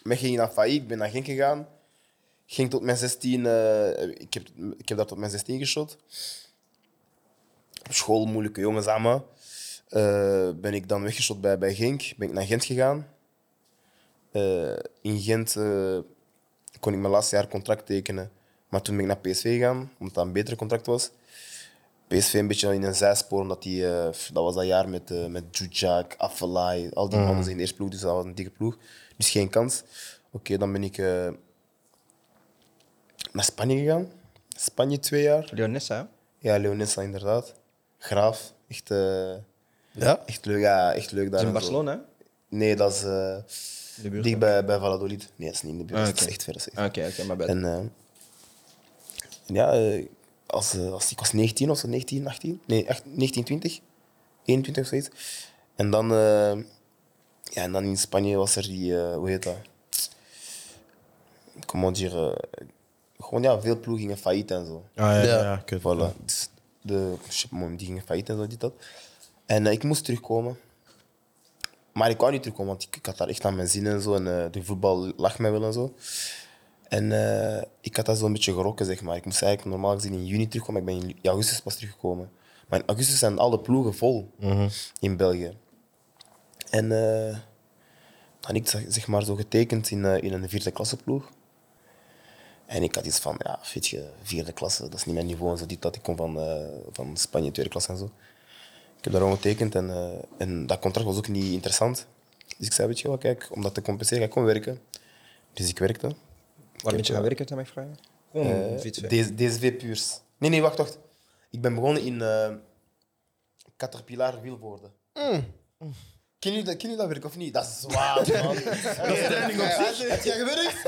C: Mechelen ging naar failliet, ik ben naar Genk gegaan. Ging tot mijn 16. eh, ik, heb, ik heb daar tot mijn 16 geschot. Op school, moeilijke jongens aan me. Eh, ben ik dan weggeschot bij, bij Genk. Ben ik naar Gent gegaan. Eh, in Gent eh, kon ik mijn laatste jaar contract tekenen. Maar toen ben ik naar PSV gegaan, omdat dat een beter contract was. PSV een beetje in een zijspoor, omdat die, eh, f- dat was dat jaar met, eh met Djudjak, Afellay, al
B: Mhm.
C: die mannen in de eerste ploeg, dus dat was een dikke ploeg. Dus geen kans. Oké, dan ben ik eh, naar Spanje gegaan. Spanje twee jaar.
B: Leonessa, hè?
C: Ja, Leonessa inderdaad. Graaf, echt, eh,
A: Ja?
C: echt leuk. Ja, echt leuk
B: Dat
C: daar.
B: is in
C: en zo.
B: Barcelona, hè?
C: Nee, dat is eh,
B: De buurt.
C: dicht bij, bij Valladolid. Nee, dat is niet in de buurt.
B: Ah,
C: Dat is
B: oké.
C: echt ver. dat is echt
B: Oké, oké, maar bij
C: en, eh, en ja, eh, als, eh, als, ik was 19 of zo, 19, 18? Nee, echt 19, 20. 21 of zoiets. En dan, eh, ja, en dan in Spanje was er die, eh, hoe heet dat? Comment dire? eh, gewoon ja, veel ploegingen failliet en zo.
D: ja,
A: Ja.
D: ja, ja, kut.
C: Voilà. Dus de shipmom die gingen failliet en zo, dit, dat. En eh, ik moest terugkomen. Maar ik wou niet terugkomen, want ik, ik had daar echt aan mijn zin en zo. En eh, de voetbal lag mij wel en zo. En eh, ik had dat zo'n beetje gerokken, zeg maar. Ik moest eigenlijk normaal gezien in juni terugkomen, maar ik ben in augustus pas teruggekomen. Maar in augustus zijn alle ploegen vol in België. En eh, dan had ik zeg- zeg maar zo getekend in, eh, in een vierde klasse ploeg. En ik had iets van, ja, weet je, vierde klasse, dat is niet mijn niveau en zo, dit, dat. Ik kom van, eh, van Spanje, tweede klasse en zo. Ik heb daarom getekend en, eh, en dat contract was ook niet interessant. Dus ik zei, weet je wel, kijk, om dat te compenseren ga ik gewoon werken. Dus ik werkte.
A: Mm,
B: Waar ben je gaan werken, dan mag ik vragen? Gewoon
C: Eh,
B: fiets.
C: D- DSV Puurs. Nee, nee, wacht, wacht. Ik ben begonnen in eh Caterpillar Wielwoorden.
A: Mm.
C: Ken je dat, ken je dat werk of niet? Dat is zwaar, man. dat is training op zich. Heb jij gewerkt?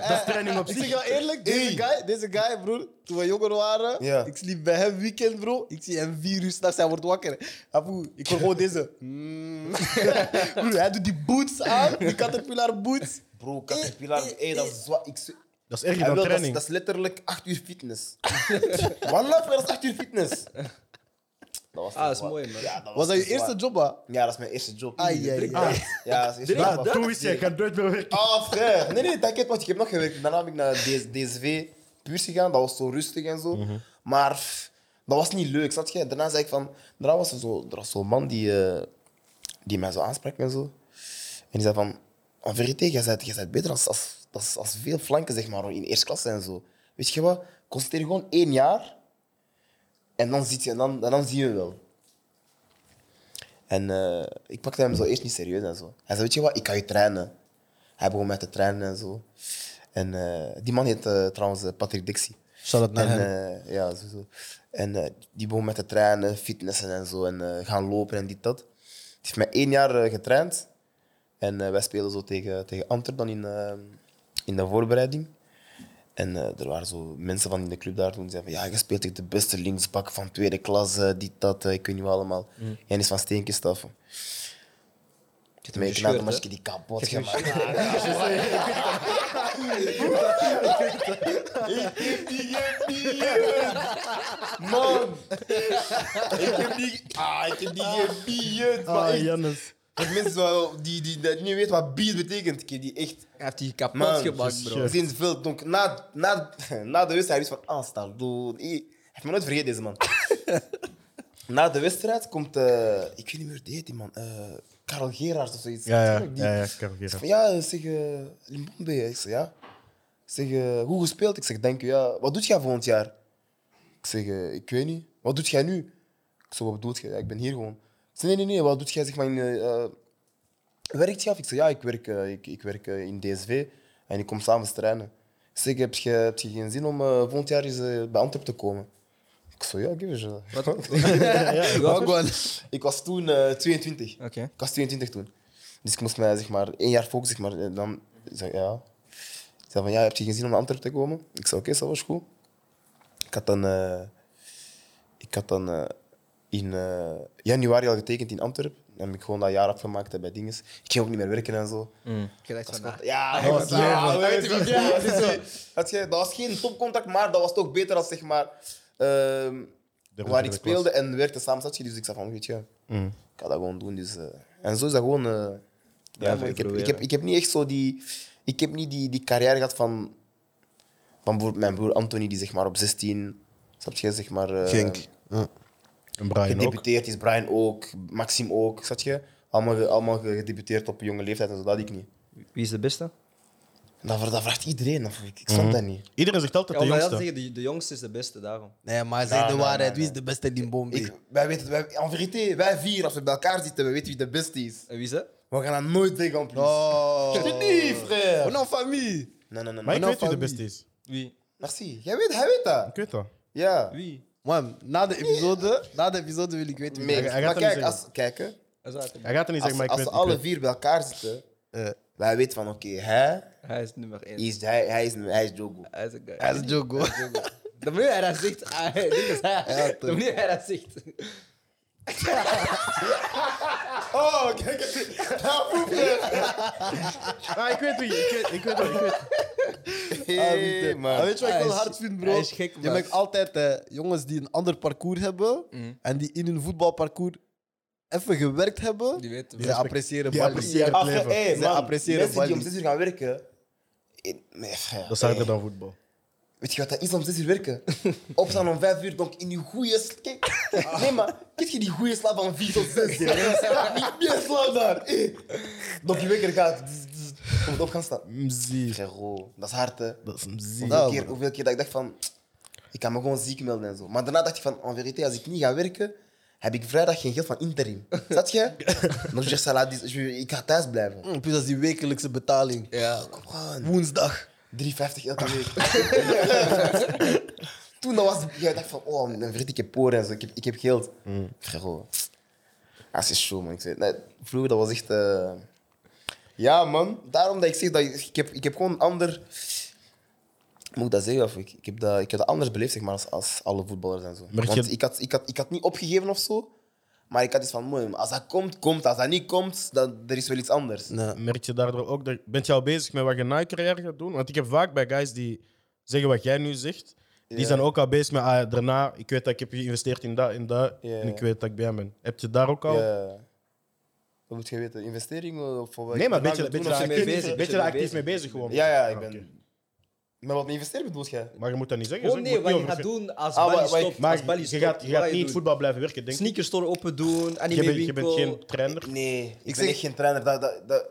D: Dat is training op
A: Ik
D: zich.
A: zeg jou eerlijk, deze guy, deze guy, broer, toen we jonger waren,
C: Ja.
A: ik sliep bij hem weekend, bro. Ik zie hem vier uur s'nachts, hij wordt wakker. Apoe, ik hoor gewoon deze. Mm. broer, hij doet die boots Eh, aan, die caterpillar boots.
C: Bro, Caterpillar, hey, dat is zwaar. Ik zweer-
D: Dat is erger
C: Hij
D: dan
C: wil, dat, is,
D: training.
C: dat is letterlijk 8 uur fitness. One love, dat is 8 uur fitness. Dat was
B: Ah, dat is
C: zwaar.
B: mooi, man.
C: Ja, dat was,
A: Was dat je
C: zwaar.
A: eerste job, ha?
C: Ja, dat is mijn eerste job.
A: Ai, ai, ai.
D: Ah.
C: Ja, dat is mijn eerste
D: Nou,
C: job.
D: toen wist je, ik ga nooit meer werken.
C: Ah, frère. Nee, nee, t'inquiète, want ik heb nog gewerkt. Daarna heb ik naar DS DSV Puurs gegaan. Dat was zo rustig en zo. Maar pff, dat was niet leuk, snap je? Daarna zei ik van... Daarna was er zo- er was zo'n man die, eh, die mij zo aansprak en zo. En die zei van... En verité, jij bent, jij bent beter als, als, als, als veel flanken, zeg maar, in eerste klasse en zo. Weet je wat? Concentreer je gewoon één jaar. En dan, ziet je, en dan, en dan zie je wel. En eh, ik pakte hem zo eerst niet serieus en zo. Hij zei, weet je wat, ik kan je trainen. Hij begon mij te trainen en zo. En eh, die man heet eh, trouwens eh, Patrick Dixie.
A: Shout out
C: En, eh, ja, sowieso. En eh, die begon met te trainen, fitnessen en zo. En eh, gaan lopen en dit, dat. Die heeft mij één jaar eh, getraind. En eh, wij spelen zo tegen, tegen Amsterdam in, eh, in de voorbereiding. En eh, er waren zo mensen van in de club daar toen die zeiden van ja, je speelt tegen de beste linksbak van tweede klasse, dit, dat, eh, ik weet niet wat allemaal.
B: Mm.
C: En is van Steenkjes af. Ik heb
B: gescheurd,
C: een
B: hè?
C: die kapot gemaakt. Man! Ik heb die... Ah, ik heb die gebied. Maar
D: Ah,
C: echt,
D: Jannes.
C: dat mensen zo- die, die, die niet weten wat bier betekent, ik heb die echt...
B: Hij heeft die kapot
C: Man,
B: gemaakt, bro.
C: shit. Sinds veel. Donc, na, na, na de wedstrijd is van... Ah, staan doen. Hij heeft me nooit vergeten, deze man. na de wedstrijd komt... eh, ik weet niet meer hoe die heet, die man. eh Karel Gerards of zoiets.
D: Ja, ja,
C: Die-
D: ja, ja, ik kan
C: Zeg
D: vergeten.
C: van, ja, zeg, eh Limbombe. Ik zeg, ja. Ik zeg, eh, hoe gespeeld? Ik zeg, denk u, ja. Wat doet jij volgend jaar? Ik zeg, eh, ik weet niet. Wat doet jij nu? Ik zeg, wat bedoelt jij? Ja, ik ben hier gewoon. Ik zeg, nee, nee, nee. Wat doet jij, zeg maar, in... eh, eh, werkt je af? Ik zeg, ja, ik werk, eh, ik, ik werk eh, in DSV en ik kom s'avonds trainen. Ik zeg, heb je, heb je geen zin om eh, volgend jaar eens eh, bij Antwerp te komen? Ik zeg, ja, ik heb je.
A: Wagwan.
C: Ik was toen eh, 22.
B: Oké.
C: Ik was 22 toen. Dus ik moest mij zeg maar, één jaar focussen. Zeg maar, en dan zei ik, ja. Ik zei van, ja, heb je geen zin om naar Antwerpen te komen? Ik zei, oké, dat was goed. Ik had dan, eh, ik had dan eh, in eh, januari al getekend in Antwerpen. Dan heb ik gewoon dat jaar afgemaakt eh, bij dinges. Ik ging ook niet meer werken en zo.
B: Ik heb echt van, ah,
C: Ja,
D: Dat was
C: ik- ja,
D: leven.
C: weet je wat, ja, dat is zo. Had je- dat was geen topcontact, maar dat was toch beter als zeg maar, ehm,
D: De
C: waar ik
D: klas. Mm.
C: speelde en werkte samen. zat je, Dus ik zei van, weet je, ik ga dat gewoon doen. Dus, eh, en zo is dat gewoon... eh, ja,
B: Blijven
C: maar ik, heb,
B: proberen.
C: ik, heb, ik heb niet echt zo die... Ik heb niet die, die carrière gehad van, van bijvoorbeeld mijn broer Anthony, die zeg maar op 16, snap je, zeg maar... eh,
A: Genk. Ja.
D: En Brian ook.
C: Gedebuteerd is Brian ook, Maxim ook, zat je? Allemaal, ge- allemaal ge- gedebuteerd op jonge leeftijd en zo, dat ik niet.
B: Wie is de beste?
C: En dat, dat vraagt iedereen, dat- ik, ik snap
D: Mhm.
C: dat niet.
D: Iedereen zegt altijd de jongste.
B: zeggen, de, de jongste is de beste daarom.
A: Nee, maar zeg
B: Nou,
C: Nee,
A: de
C: nee,
A: waarheid.
C: nee,
A: Wie is de beste in Bombay?
C: Ik, wij weten, wij, en verite, wij vier, als we bij elkaar zitten, we weten wie de beste is.
B: En wie is dat?
C: We gaan dat nooit tegen, en plus.
A: Oh.
C: Nee,
B: Oh,
C: frère.
B: nou,
A: On en famille.
C: Nee, nee, nee.
D: Maar
C: nee.
D: ik
A: Maar
D: weet wie
A: nou,
D: de beste
A: familie.
D: is.
B: Wie?
C: Merci. Jij weet, hij weet dat.
D: Ik weet dat.
C: Ja.
B: Wie?
A: Man, na de episode, na de episode wil ik weten wie
C: Nee,
D: Hij- hij
C: maar
D: gaat dat
C: kijk,
D: niet zeggen.
C: als, kijk hè,
B: Dat is eigenlijk-
D: Hij gaat er niet
C: als,
D: zeggen, maar ik
C: als
D: weet
C: ze
D: ik
C: alle
D: weet-
C: vier bij elkaar zitten,
A: Eh.
C: wij weten van oké, hij,
B: Hij is nummer 1.
C: is, hij, hij, is, hij is Jogo.
B: Hij is een guy.
A: Hij is Jogo.
B: De manier hij dat zegt, ah, dit is
A: Ja,
B: hij.
A: toch.
B: De manier hij dat zegt.
C: Oh, kijk,
D: Ah, ik weet wie. Ik weet, ik weet, ik weet. Ah,
C: hey, man.
A: Maar weet je wat ik
B: Hij
A: wel
B: is-
A: hard vind, bro?
B: hij is gek,
A: Je
B: man.
A: merkt altijd eh, jongens die een ander parcours hebben
B: Mhm.
A: en die in hun voetbalparcours even gewerkt hebben.
B: Die weten
A: Ze
B: wel.
A: appreciëren
D: die
A: ballen.
D: appreciëren
A: Ja,
D: het leven.
C: hey,
A: Ze
C: eh, man,
A: appreciëren
C: mensen die
A: Bali.
C: om 6 uur gaan werken. in- nee, ja,
D: Dat is
C: hey.
D: harder dan voetbal.
C: Weet je wat dat is om 6 uur werken? Opstaan om 5 uur, donc in je goede slaap. Nee, maar kent je die goede slaap van 4 tot 6? Niet meer slaap daar. Hey. eh. Donc je wekker gaat. zzz, zzz, Om het op gaan staan.
D: Mzie.
C: Gero, dat is hard hè.
D: Dat is
C: Hoeveel
A: Ja, Nou,
C: keer,
A: man.
C: hoeveel keer dat ik dacht van, ik kan me gewoon ziek melden en zo. Maar daarna dacht ik van, en verite, als ik niet ga werken, heb ik vrijdag geen geld van interim. Zat je? Dan zeg salaris, je- ik ga thuis blijven.
A: Mm, Plus dat is die wekelijkse betaling.
B: Ja.
C: Kom aan.
A: Woensdag.
C: 3,50 elke week. Toen dat was jij dacht van, oh, dan vergeet ik heb poren en zo, ik heb, ik heb geld. Frero. Dat is show, man. Ik zei, nee, vroeger, dat was echt... eh, Ja, man. Daarom dat ik zeg, dat ik, ik heb, ik heb gewoon een ander... Moet ik dat zeggen? Of ik, ik, heb dat, ik heb dat anders beleefd, zeg maar, als, als alle voetballers en zo.
D: Maar je-
C: Want ik had, ik, had, ik had niet opgegeven of zo. Maar ik had iets van, mooi, als dat komt, komt. Als dat niet komt, dan er is wel iets anders.
A: Nee.
D: Merk je daardoor ook dat. Bent je al bezig met wat je na je carrière gaat doen? Want ik heb vaak bij guys die zeggen wat jij nu zegt. Die
C: Ja.
D: zijn ook al bezig met. Ah, daarna, ik weet dat ik heb geïnvesteerd in dat en dat.
C: Ja.
D: En ik weet dat ik bij hem ben. Heb je daar ook al.
C: Ja. Wat moet je weten? Investering of voor wat
D: Nee, maar
C: ik
D: ben je,
C: wil
D: ben je
C: doen
D: daar
C: of
B: je
D: actief
B: mee bezig
D: mee bezig?
B: bent,
D: Ben je
B: je
D: daar
B: mee
D: actief mee
B: bezig
D: bezig
B: bent.
D: gewoon?
C: zo? Ja, ja, ik
D: Ah,
C: ben.
D: oké.
C: Met wat investeren bedoel jij?
D: Maar je moet dat niet zeggen.
B: Gewoon
D: zo.
B: Oh, nee,
D: moet
B: wat
D: niet
B: je
D: over-
B: gaat doen als
C: Ah,
B: Bali
C: wa- wa-
B: stopt.
D: Maar
B: als Bali
D: je
B: stopt,
D: gaat, je
B: wat
D: gaat
B: je
D: niet
B: doet.
D: voetbal blijven werken, denk ik.
B: Sneakers store open doen,
D: Je
B: anime
D: bent, je bent
B: winkel.
D: geen trainer.
C: Nee, ik, ben
A: zeg-
C: echt geen trainer. Dat, dat, dat...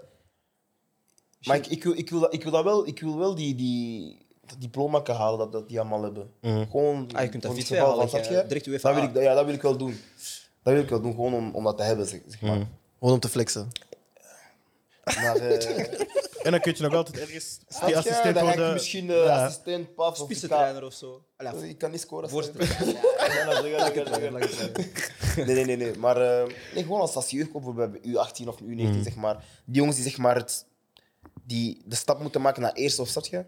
C: Maar ik, ik, wil, ik, wil dat, ik wil dat wel, ik wil wel die, die, dat diploma kan halen dat, dat die allemaal hebben. Gewoon.
B: Ah, je kunt dat
C: voor
B: niet
C: het geval
B: halen,
C: van,
B: je-
C: snap je?
B: direct UEFA.
C: Dat wil ik, ja, dat wil ik wel doen. Dat wil ik wel doen, gewoon om, om dat te hebben, zeg, zeg maar.
A: Gewoon om te flexen.
C: Maar eh,
D: En dan kun je nog altijd ergens
C: snap je?
D: die assistent
C: dan ga ik
D: worden.
C: misschien eh,
D: Ja.
C: assistent, paf. of ik ga-
B: Spitsentrainer of zo. Allee,
C: Ik kan niet scoren. als-
B: voorzitter.
C: Ja, dat is- dat is- dat is-
B: Lange trainer.
C: Nee, nee, nee. nee. Maar eh, nee, gewoon als, als jeugdkoop, bijvoorbeeld bij U18 of U19,
B: Mm.
C: zeg maar. Die jongens die, zeg maar, het, die de stap moeten maken naar eerste of snap je?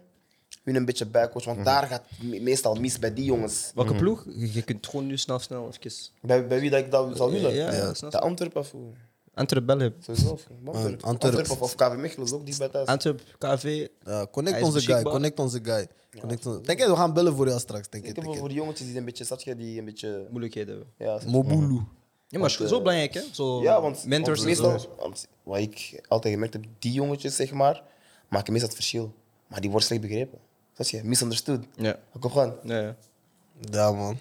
C: Hun een beetje bijcoachen,
B: Mhm.
C: want daar gaat het me- meestal mis bij die jongens.
D: Mm.
B: Welke ploeg? Je je kunt gewoon nu snel, snel even.
C: Bij, bij wie dat ik dat zou willen?
B: Ja, ja, snap, Ah,
C: De
B: snap.
C: Antwerpen of hoe?
B: Antwerp Belgium.
C: Sowieso. of Antwerpen.
A: Antwerp.
C: Antwerpen of, of KV Mechelen is ook die bij thuis.
B: Antwerp, KV.
A: Ja,
B: Hij
A: connect
B: is
A: onze guy,
B: beschikbaar.
A: connect onze guy. Connect onze... Denk je, we gaan bellen voor jou straks. Denk
C: ik
A: ik,
C: heb wel
A: denk
C: voor
A: ik.
C: die jongetjes die een beetje, snap je, die een beetje...
B: Moeilijkheden eh, hebben.
C: Ja, snap je?
A: Mobulu.
B: Ja, maar zo belangrijk, hè? Zo
C: ja want
B: mentors
C: want
B: en zo.
C: meestal, want Wat ik altijd gemerkt heb, die jongetjes, zeg maar, maken meestal het verschil. Maar die worden slecht begrepen. Snap je? Misunderstood.
B: Ja.
C: Kom gewoon.
B: Ja, ja.
A: Ja, man.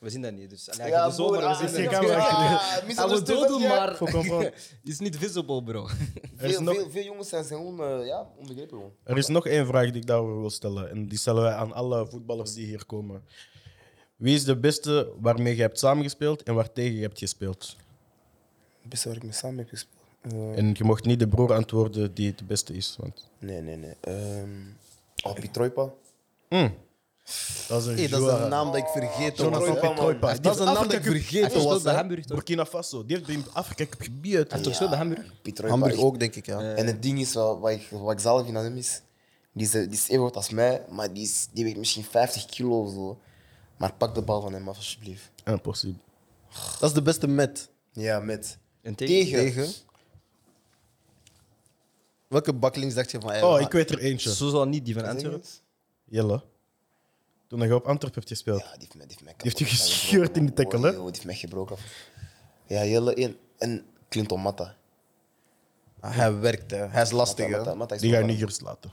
B: We zien dat niet. Dus, allee,
C: Ja,
B: ja, zo,
C: broer,
B: maar
C: ah,
B: we zien
C: nee,
B: dat
D: ik
B: niet.
D: kan wel-
C: Ah,
B: Hij wil
C: misunderstood,
B: dooddoen,
C: ja.
B: maar
D: Voor controle.
B: is niet visible, bro.
D: Er is
C: Veel,
D: nog-
C: veel, veel jongens zijn zijn gewoon eh, ja, onbegrepen. Gewoon.
D: Er is nog één vraag die ik daarover wil stellen. En die stellen wij aan alle voetballers die hier komen. Wie is de beste waarmee je hebt samengespeeld en waartegen je hebt gespeeld?
C: Het beste waar ik mee samen heb gespeeld. Eh,
D: En je mocht niet de broer antwoorden die het beste is. Want...
C: nee, nee, nee. Ehm oh, Pitroipa.
D: Hmm. Dat is een,
A: Hey, dat is
D: jouw-
A: een naam dat ik vergeten
C: Jonathan
A: was.
C: Troy-
A: hè.
D: Pitroipa.
C: man.
D: Die
A: Dat is een
D: heeft
A: naam dat ik
D: Afrika Cup-
A: vergeten
B: Hij
A: was.
B: speelde
A: hè.
B: Hamburg, toch?
D: Burkina Faso. Die heeft in Afrika Cup gebied.
B: Hij toch zo de Hamburg?
C: Pitroipa.
A: Hamburg
C: echt.
A: ook, denk ik, ja.
C: En het ding is, wel, wat ik, wat ik zelf in aan hem is, die is, eh, die is even goed als mij, maar die, is, die weegt misschien 50 kilo of zo. Maar pak de bal van hem af, alsjeblieft.
D: Impossible.
A: Dat is de beste met.
C: Ja, met.
B: En tegen?
C: Tegen.
A: Tegen. Welke baklinks dacht je van? hey,
D: Oh,
A: maar-
D: ik weet er eentje.
B: Zo zal niet die van
C: Tegen.
B: Antwerp.
D: Jelle. Toen je op Antwerp hebt gespeeld.
C: Ja, die heeft mij, die heeft mij
D: Die heeft
C: kapot
D: je
C: gebroken.
D: gescheurd in die tackle, hè?
C: Wow, Die heeft mij gebroken. Ja, Jelle één. En Clinton Matta.
A: Ah, Hij werkt, hè. hij is lastig. hè.
C: Mata- Mata is
D: Die ga je
C: warm.
D: niet gerust laten.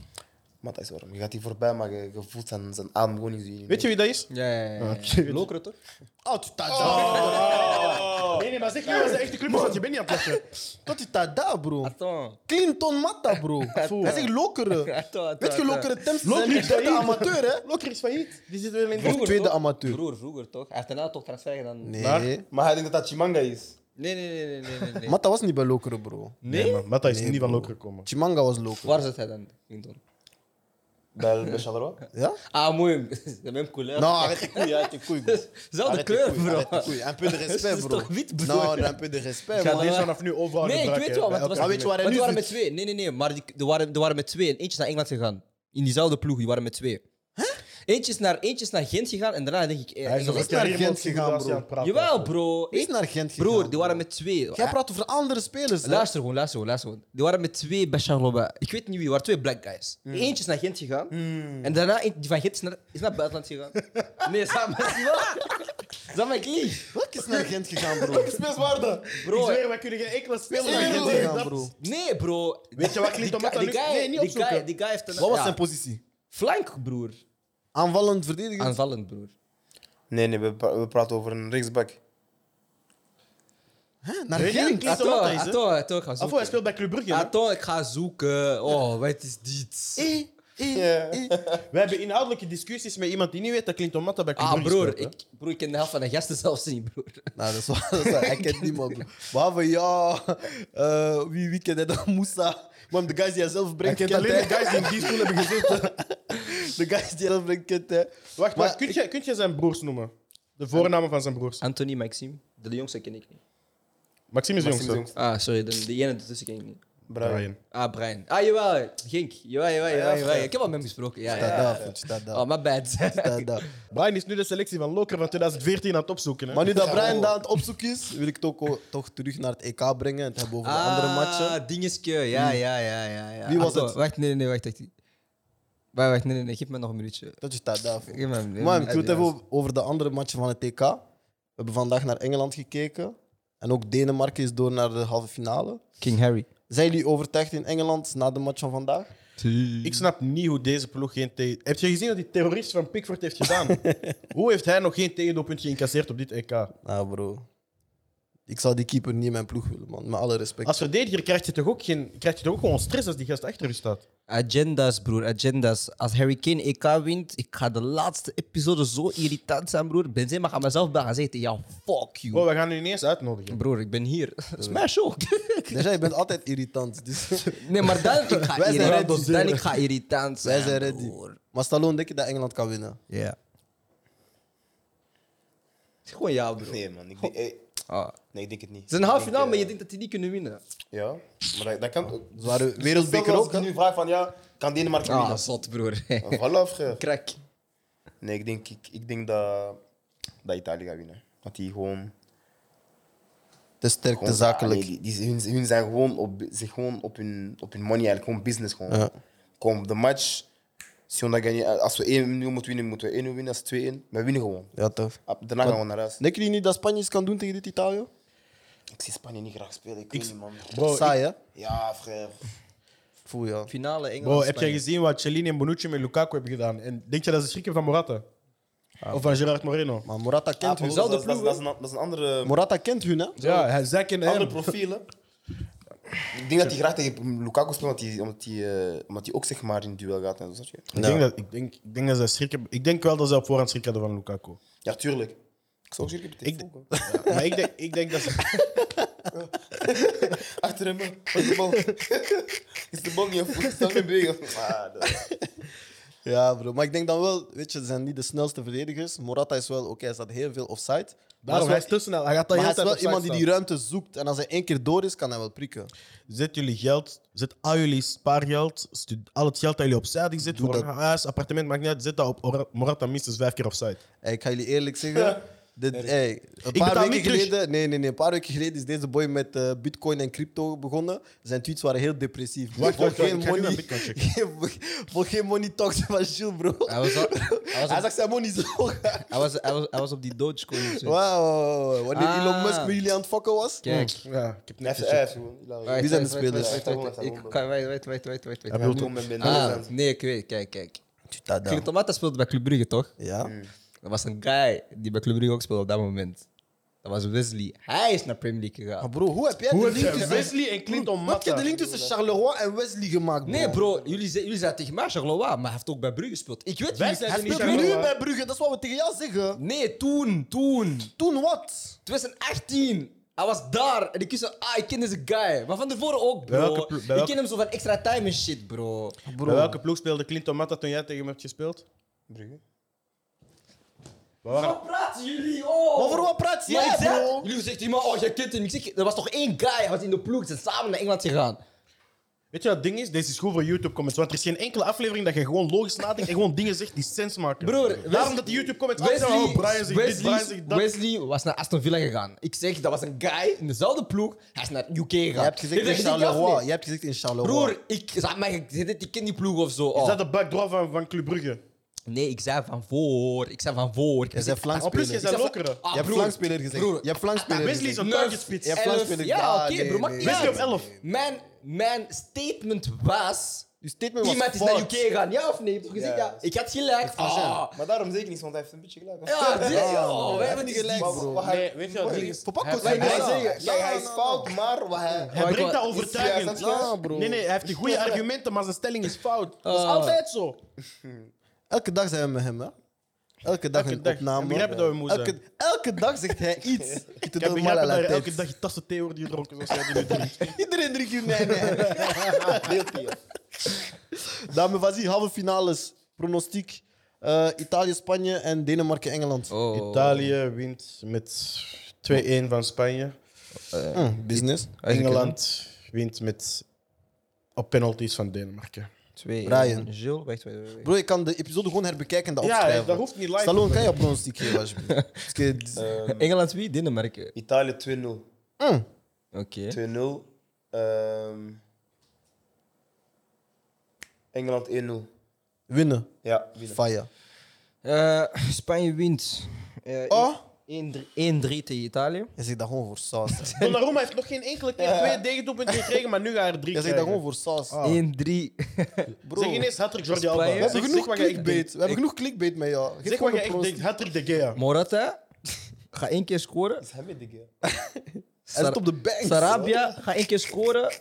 C: Mata is warm. Je gaat die voorbij, maar je, je voelt zijn, zijn adem gewoon niet. zien.
D: Weet je wie dat is?
B: Ja, ja, ja. Lokeren toch?
A: Oh, tada.
D: Nee, nee, maar zeg niet dat is de echte club, want je bent niet aan het lachen.
A: Dat is tada, bro.
B: Attends.
A: Clinton Matta, bro. Hij zegt lokeren.
B: Attends,
A: Weet
B: attends,
A: je,
B: attends.
A: lokeren temps zijn
D: Lokeren
A: niet de
D: zijn-
A: amateur, hè?
D: Lokker is failliet. Die zit weer in
A: Of
B: Vroeger
A: tweede
B: toch?
A: amateur.
B: Broer, vroeger toch? Hij heeft daarna toch transfer gedaan? Nee,
A: Nee.
C: Maar hij denkt dat dat Chimanga is.
B: nee, nee, nee, nee. nee, nee.
A: Matta was niet bij lokeren, bro.
D: Nee, man. Mata is niet van Lokker gekomen.
A: Chimanga was lokeren.
B: Waar zit hij dan? Clinton?
C: Bij El Bechalroa.
A: Ja?
B: Ah, mooi. De même couleur.
A: Nou, arrête tes couilles, arrête tes couilles, bro.
B: Zelfde
A: Arrête tes
B: kleur,
A: couilles,
B: bro.
A: arrête tes couilles. Un peu de
B: Het
A: respect,
B: is
A: bro.
B: toch wit, broer?
A: Nou, un peu de respect,
D: Ik ga
A: man.
D: deze vanaf nu overal
B: Eh, Nee, ik
D: gebruiken,
B: weet wel.
D: bij
B: Want, het
D: elke
A: Ah,
B: was-
A: weet je waar hij nu
B: want die waren met
A: zit?
B: twee. Nee, nee, nee. Maar die, er, waren, er waren met twee. En eentje is naar Engeland gegaan. In diezelfde ploeg. Die waren met twee. Eentje is naar, eentje is naar Gent gegaan. En daarna denk ik... eh,
D: Hij is
B: Engeland.
D: nog een
A: is naar
D: keer iemand
A: Gent gegaan,
D: gegaan,
A: bro.
D: bro.
B: Jawel, bro.
A: Wie is
B: Eén-
A: naar Gent gegaan,
B: Broer, die
A: bro?
B: waren met twee.
A: Jij praat over andere spelers, hè?
B: Eh. Luister gewoon, luister gewoon, luister gewoon. Die waren met twee bij Charleroi. Ik weet niet wie, er waren twee black guys.
D: Hmm.
B: Eentje is naar Gent gegaan. En daarna eentje die van Gent is naar, is naar buitenland gegaan. nee, samen is niet waar. Samen ik lieg.
A: Welke is naar Gent gegaan, bro?
D: Speels waar dan?
B: Bro,
D: Ik zweer, wij kunnen geen enkele speler
A: Is naar Gent
D: tegen
A: gegaan,
D: dat-
A: bro.
B: Nee, bro.
D: Weet je wat Clinton
B: Die guy-
D: Matta
B: die
D: nu-
B: guy-
D: Nee, niet
B: die
D: opzoeken.
B: guy- Die guy heeft een...
A: Wat was
B: ja,
A: zijn positie?
B: Flank, broer.
A: Aanvallend verdediger?
B: Aanvallend, broer.
C: Nee, nee, we, pra- we praten over een rechtsback.
A: Hè? Naar
D: Weet je wie
A: Gent?
D: Clinton Matta
B: Attends,
D: is, hè?
B: attends, attends, ik ga
D: Of hij
B: zoeken.
D: speelt bij Club Brugge. hè?
B: Attends, ik ga zoeken. Oh, wat is dit?
A: Eh, eh,
C: Ja.
A: eh.
D: We hebben inhoudelijke discussies met iemand die niet weet dat Clinton Matta bij Club
B: Ah,
D: Brugge
B: broer.
D: speelt, hè?
B: Ik, broer, ik ken de helft van de gasten zelfs niet, broer.
A: Nou, dat is waar. Dat is waar. Hij kent niemand, bro. Behalve, ja, eh, wie, wie kent hij dan? Moussa. Maar de guys die hij zelf
D: Hij
A: brengt,
D: kent
A: kent
D: alleen de
A: hij.
D: guys die in die stoel hebben gezeten.
A: De guys die hij zelf brengt, kent hij.
D: Wacht,
A: Maar
D: maar kun, je, kun je zijn broers noemen? De voornamen van zijn broers.
B: Anthony, Maxime. De jongste ken ik niet.
D: Maxime is de
C: Maxime de
D: jongste.
C: Jongste.
B: Ah, sorry, de, die ene ertussen ken ik niet.
C: Brian.
B: Ah, Brian. Ah, jawel, Gink. Jawel, jawel, jawel. jawel. Ik heb al met hem gesproken. Ja, ja.
A: Tada, voet, tada,
B: Oh, my bad.
A: tada.
D: Brian is nu de selectie van Loker van 2014 aan het opzoeken. Hè?
A: Maar nu dat Brian daar aan het opzoek is, wil ik het ook o- toch terug naar het EK brengen. Het hebben over de andere matchen. Hmm.
B: Ah, dingetje. Ja, ja, ja, ja, ja.
A: Wie was
B: Ah,
A: het?
B: Wacht, nee, nee, nee, wacht. Wacht, wacht, wacht nee, nee, nee. Geef me nog een minuutje.
A: Dat is tada.
B: Geef me- geef me-
A: Maar ik wil het even
B: Ja,
A: over- over de andere matchen van het EK. We hebben vandaag naar Engeland gekeken. En ook Denemarken is door naar de halve finale.
B: King Harry.
A: Zijn jullie overtuigd in Engeland na de match van vandaag?
D: Ik snap niet hoe deze ploeg geen tegen... Heb je gezien wat die terrorist van Pickford heeft gedaan? hoe heeft hij nog geen tegendoelpunt geïncasseerd op dit EK?
A: Nou, bro. Ik zou die keeper niet in mijn ploeg willen, man. Met alle respect.
D: Als verdediger krijg je toch ook, geen, krijg je toch ook gewoon stress als die gast achter je staat?
B: Agendas, broer, agendas. Als Harry Kane EK wint, ik ga de laatste episode zo irritant zijn, broer. Benzema gaat mezelf bij gaan zitten. Ja, fuck you.
A: Oh.
D: Bro, we gaan u niet eens uitnodigen.
B: Broer, ik ben hier.
A: Eh.
B: Smash ook.
A: Déjà, je bent altijd irritant. Dus
B: Nee, maar dan ik ga
A: Wij zijn
B: irritant,
A: ready.
B: dan ik ga irritant zijn.
A: wij zijn ready.
B: broer.
A: Maar Stallone, denk je dat Engeland kan winnen?
B: Ja. Gewoon ja, bro.
C: Nee, man. Ik denk, eh,
B: Ah.
C: nee, ik denk het niet.
B: Het is een halve
C: Ik denk,
B: finale, maar je
C: eh,
B: denkt dat die niet kunnen
A: Ah.
B: winnen.
C: Ja, maar dat, dat
D: Oh.
C: kan.
A: Ze waren wereldbeker
C: Stel als
A: ook,
C: ik
A: hè?
C: nu vraag van ja, kan Denemarken
B: Ah,
C: winnen?
B: zot, broer.
A: Ah.
C: Voilà, frère.
B: Krak.
C: Nee, ik denk, ik, ik denk dat, dat Italië gaat winnen. Dat die gewoon.
A: Te sterk,
C: gewoon
A: te zakelijk.
C: Ah, nee, die, die, hun, hun zijn gewoon op, zich gewoon op hun, op hun money, eigenlijk gewoon business. Gewoon.
A: Ja.
C: Kom op de match. Si on a gagné, als we 1-0 moeten winnen, moeten we 1-0 winnen. Als 2-1, we winnen gewoon.
A: Ja, toch.
C: Ah, Daarna gaan we naar huis.
A: Denken jullie niet dat Spanje iets kan doen tegen dit Italië?
C: Ik zie Spanje niet graag spelen. Ik weet niet, man.
D: Bro, ik-
A: Saai, hè?
C: Ja, frère.
A: Voel je.
B: Finale Engeland.
D: Bro, heb jij gezien wat Cellini en Bonucci met Lukaku hebben gedaan? En denk je dat ze schrikken van Morata? of van Gerard Moreno?
A: Maar Morata kent
C: Ah,
A: hun.
C: dat,
B: Dezelfde
C: is- dat, is-
B: ploeg,
C: dat is een, dat is een andere,
A: Morata kent hun, hè?
D: Ja, hij zij kennen hem.
C: ander profiel. hè. ik denk dat hij graag tegen Lukaku speelt, omdat hij, omdat hij, eh, omdat hij ook zeg maar in het duel gaat. En zo, snap je?
D: Ik, denk dat, ik, denk, ik denk dat ze schrikken. Ik denk wel dat ze op voorhand schrik hadden van Lukaku.
C: Ja, tuurlijk. Ik zou ook zeker
D: Ik-
C: tegen Lukaku.
D: maar ik denk, ik denk dat ze.
C: Achter hem, hè. Wat is de bal? is de bal niet op voet? Stel hem bewegen. Ah, dat-
A: Ja, bro. Maar ik denk dan wel, weet je, ze zijn niet de snelste verdedigers. Morata is wel, oké, hij staat heel veel offside. Maar, hij is
D: Daarom,
A: wel-
D: hij is te snel. Hij gaat
A: maar
D: daar
A: hij
D: heel
A: is
D: tijd
A: wel
D: opzij
A: iemand die die
D: staan.
A: ruimte zoekt. En als hij één keer door is, kan hij wel prikken.
D: Zet jullie geld, zet al jullie spaargeld, stu- al het geld dat jullie opzij hebben gezet, voor
A: dat.
D: een huis, appartement, maakt niet uit, zet dat op Ora- Morata minstens vijf keer opzij.
A: Hey, ik ga jullie eerlijk zeggen, Dit, hey, een
D: betaal
A: paar weken
D: niet terug.
A: geleden, nee, nee, nee, een paar weken geleden is deze boy met eh, bitcoin en crypto begonnen. Zijn tweets waren heel depressief.
D: Wacht,
A: Voor
D: wacht, wacht,
A: geen
D: ik ga nu
A: money-
D: naar bitcoin checken.
A: geen- Voor geen money talks van Jules, bro.
B: Hij was, al- hij was,
A: Hij
B: op,
A: zag zijn money zo gaan.
B: hij was, hij was, hij was op die Dogecoin. of zo.
A: Wauw, wanneer
B: Ah.
A: Elon Musk met jullie aan het fokken was.
B: Kijk.
D: Ja, ik heb net Ah,
C: Even,
D: gezien.
C: even.
B: Wacht,
A: Wie zijn de
B: wacht, wacht,
A: spelers?
B: wacht, wacht, wacht, Ik kan, wait, wait, wait, wait, wait, wait.
D: Hij bedoelt
C: Noem mijn
B: Ah, nee, ik weet, kijk, kijk.
A: Tada.
B: Clean Tomata speelde bij Club Brugge, toch?
A: Hmm, Ja.
D: Hmm.
B: Er was een guy die bij Club Brugge ook speelde op dat moment. Dat was Wesley. Hij is naar Premier League
A: Maar Ah,
B: gegaan.
A: bro, hoe heb jij
D: Hoe
A: de
D: heb
A: link
D: jij
A: tussen...
D: Wesley en Clinton
A: Hoe heb jij de link tussen Charleroi en Wesley gemaakt, bro?
B: Nee, bro, jullie, ze- jullie zeiden tegen mij, Charleroi, maar hij heeft ook bij Brugge gespeeld. Ik weet
D: Wij
B: niet.
D: zijn
A: Hij
D: ze niet
A: speelt nu
D: Charleroi.
A: bij Brugge, dat is wat we tegen jou zeggen.
B: Nee, toen, toen.
A: Toen wat?
B: 2018. Hij was daar en ik wist zo, ah, ik ken deze guy. Maar van tevoren ook,
D: Bij welke
B: bro.
D: plo- bij
B: Ik
D: welke-
B: ken hem zo van extra time en shit, bro.
D: Bij welke ploeg speelde Clinton Matta toen jij tegen hem hebt gespeeld?
C: Brugge.
D: We waren-
B: Wat praten jullie, oh?
A: Over wat praat
B: Maar
A: jij,
B: ik zeg-
A: bro?
B: Jullie zeggen tegen mij, oh, jij kent hem. Ik zeg, er was toch één guy, hij was in de ploeg, ze zijn samen naar Engeland gegaan.
D: Weet je wat het ding is? Deze is goed voor YouTube-comments. Want er is geen enkele aflevering dat je gewoon logisch nadenkt en gewoon dingen zegt die sens maken.
B: Broer,
D: Daarom
B: Wesley-
D: dat de YouTube-comments altijd
B: Wesley,
D: zijn, oh, Brian zegt dit, Brian
B: Wesley,
D: zegt dat.
B: Wesley was naar Aston Villa gegaan. Ik zeg, dat was een guy in dezelfde ploeg. Hij is naar UK gegaan.
A: Je hebt gezegd
B: Ik
A: in
B: zeg, dit kan
A: Charleroi.
B: niet.
A: Je hebt gezegd in Charleroi.
B: Broer, ik, zei, maar, ik, zei dit, ik ken die ploeg of zo.
D: Is
B: oh.
D: dat de backdrop van, van Club Brugge?
B: Nee, ik zei van voor. Ik zei van voor. Ik
A: je
B: zeg-
A: bent
D: Op plus, je
A: flankspeler.
D: bent lokere.
B: Ah,
A: je hebt
B: broer,
A: flankspeler gezegd.
B: broer.
A: Je hebt flankspeler
D: Ah, Wesley is
A: gezegd.
D: een targetspits.
A: Ja,
D: Ja,
A: hebt
B: Elf-
A: flankspeler
B: Ja,
A: gedaan.
B: oké,
A: Nee,
B: bro. maakt
A: nee,
B: niet
A: nee.
D: Wesley
B: uit.
D: op 11.
B: Mijn, mijn statement was...
A: Je statement was
B: Iemand is
D: nou
B: naar
A: fout.
B: UK gegaan, ja of nee? Heb je toch gezegd?
C: Ja.
B: Ja. Ik had gelijk. Ah.
C: Maar daarom zeker niet, want hij heeft een beetje gelijk.
B: Ja, dit-
A: bro.
B: joh, we
A: Hij
B: hebben
A: heeft
B: niet
A: niet
B: gelijk,
A: gelijk,
B: bro.
C: Wat hij, weet je wat
A: Broer, Papa
B: Hij-
A: kon
C: Wij
A: zijn
B: Nee,
C: willen
B: nee,
A: zeggen.
C: zeggen, kijk, hij is fout, maar wat hij...
D: Hij
B: Maar
D: brengt
B: ik-
D: dat overtuigend.
C: Ja,
A: Ja, bro.
D: Nee, nee, hij heeft die goede argumenten, maar zijn stelling is fout. Dat is
B: Ah.
D: altijd zo.
A: Elke dag zijn we met hem, hè? Elke dag
D: Elke
A: een
D: dag.
A: opname.
D: Ik begrijp dat we moe
A: elke,
D: zijn.
A: elke dag zegt hij iets. Ik te
D: Ik
A: doen
D: heb begrepen
A: mal à
D: dat
A: la
D: je
A: tête.
D: elke dag je tassen thee wordt gedronken zoals jij die nu drinkt.
A: Iedereen drinkt hier. Nee, nee.
C: Guilty.
A: Dames en heren, halve finales. Pronostiek. Eh, Italië, Spanje en Denemarken, Engeland.
B: Oh,
D: Italië wint met 2-1 van Spanje.
A: Hm, business.
D: Engeland wint met op penalties van Denemarken.
B: Twee.
A: Brian.
B: Jill, wacht, wacht, wacht.
A: Bro, je kan de episode gewoon herbekijken en dat
D: Ja,
A: opschrijven.
D: dat hoeft niet live.
A: Stallone,
D: te
A: kan
D: doen.
A: je pronostiek geven, alsjeblieft? Parce que d-
C: Ehm,
B: Engeland wie? Denemarken.
C: Italië 2-0.
A: Hm.
B: Oké.
C: 2-0. Ehm, Engeland 1-0.
A: Winnen.
C: Ja, winnen.
A: Fire.
B: Eh, Spanje wint. Eh,
A: Oh?
B: 1-3 tegen Italië.
A: Je zegt dat gewoon voor saus. hè.
D: Donnarumma heeft nog geen enkele keer twee tegendoelpunten gekregen, maar nu gaat er drie
A: Je zegt dat gewoon voor saus.
D: Ah.
B: 1-3.
A: Bro,
D: Zeg
A: we
D: ineens hat-trick Jordi
B: Spanje.
D: Alba.
B: We
D: Zeg-
A: hebben genoeg
D: zeg wat je echt denkt.
A: clickbait. We hebben genoeg clickbait met jou. Geef
D: Zeg
A: gewoon
D: wat je
A: een
D: echt denkt.
A: pronostiek.
D: Hat-trick de Gea.
B: Morata, ga één keer scoren.
C: Is hij met die guy?
A: Hij zit op de bank.
B: Sarabia, ga één keer scoren.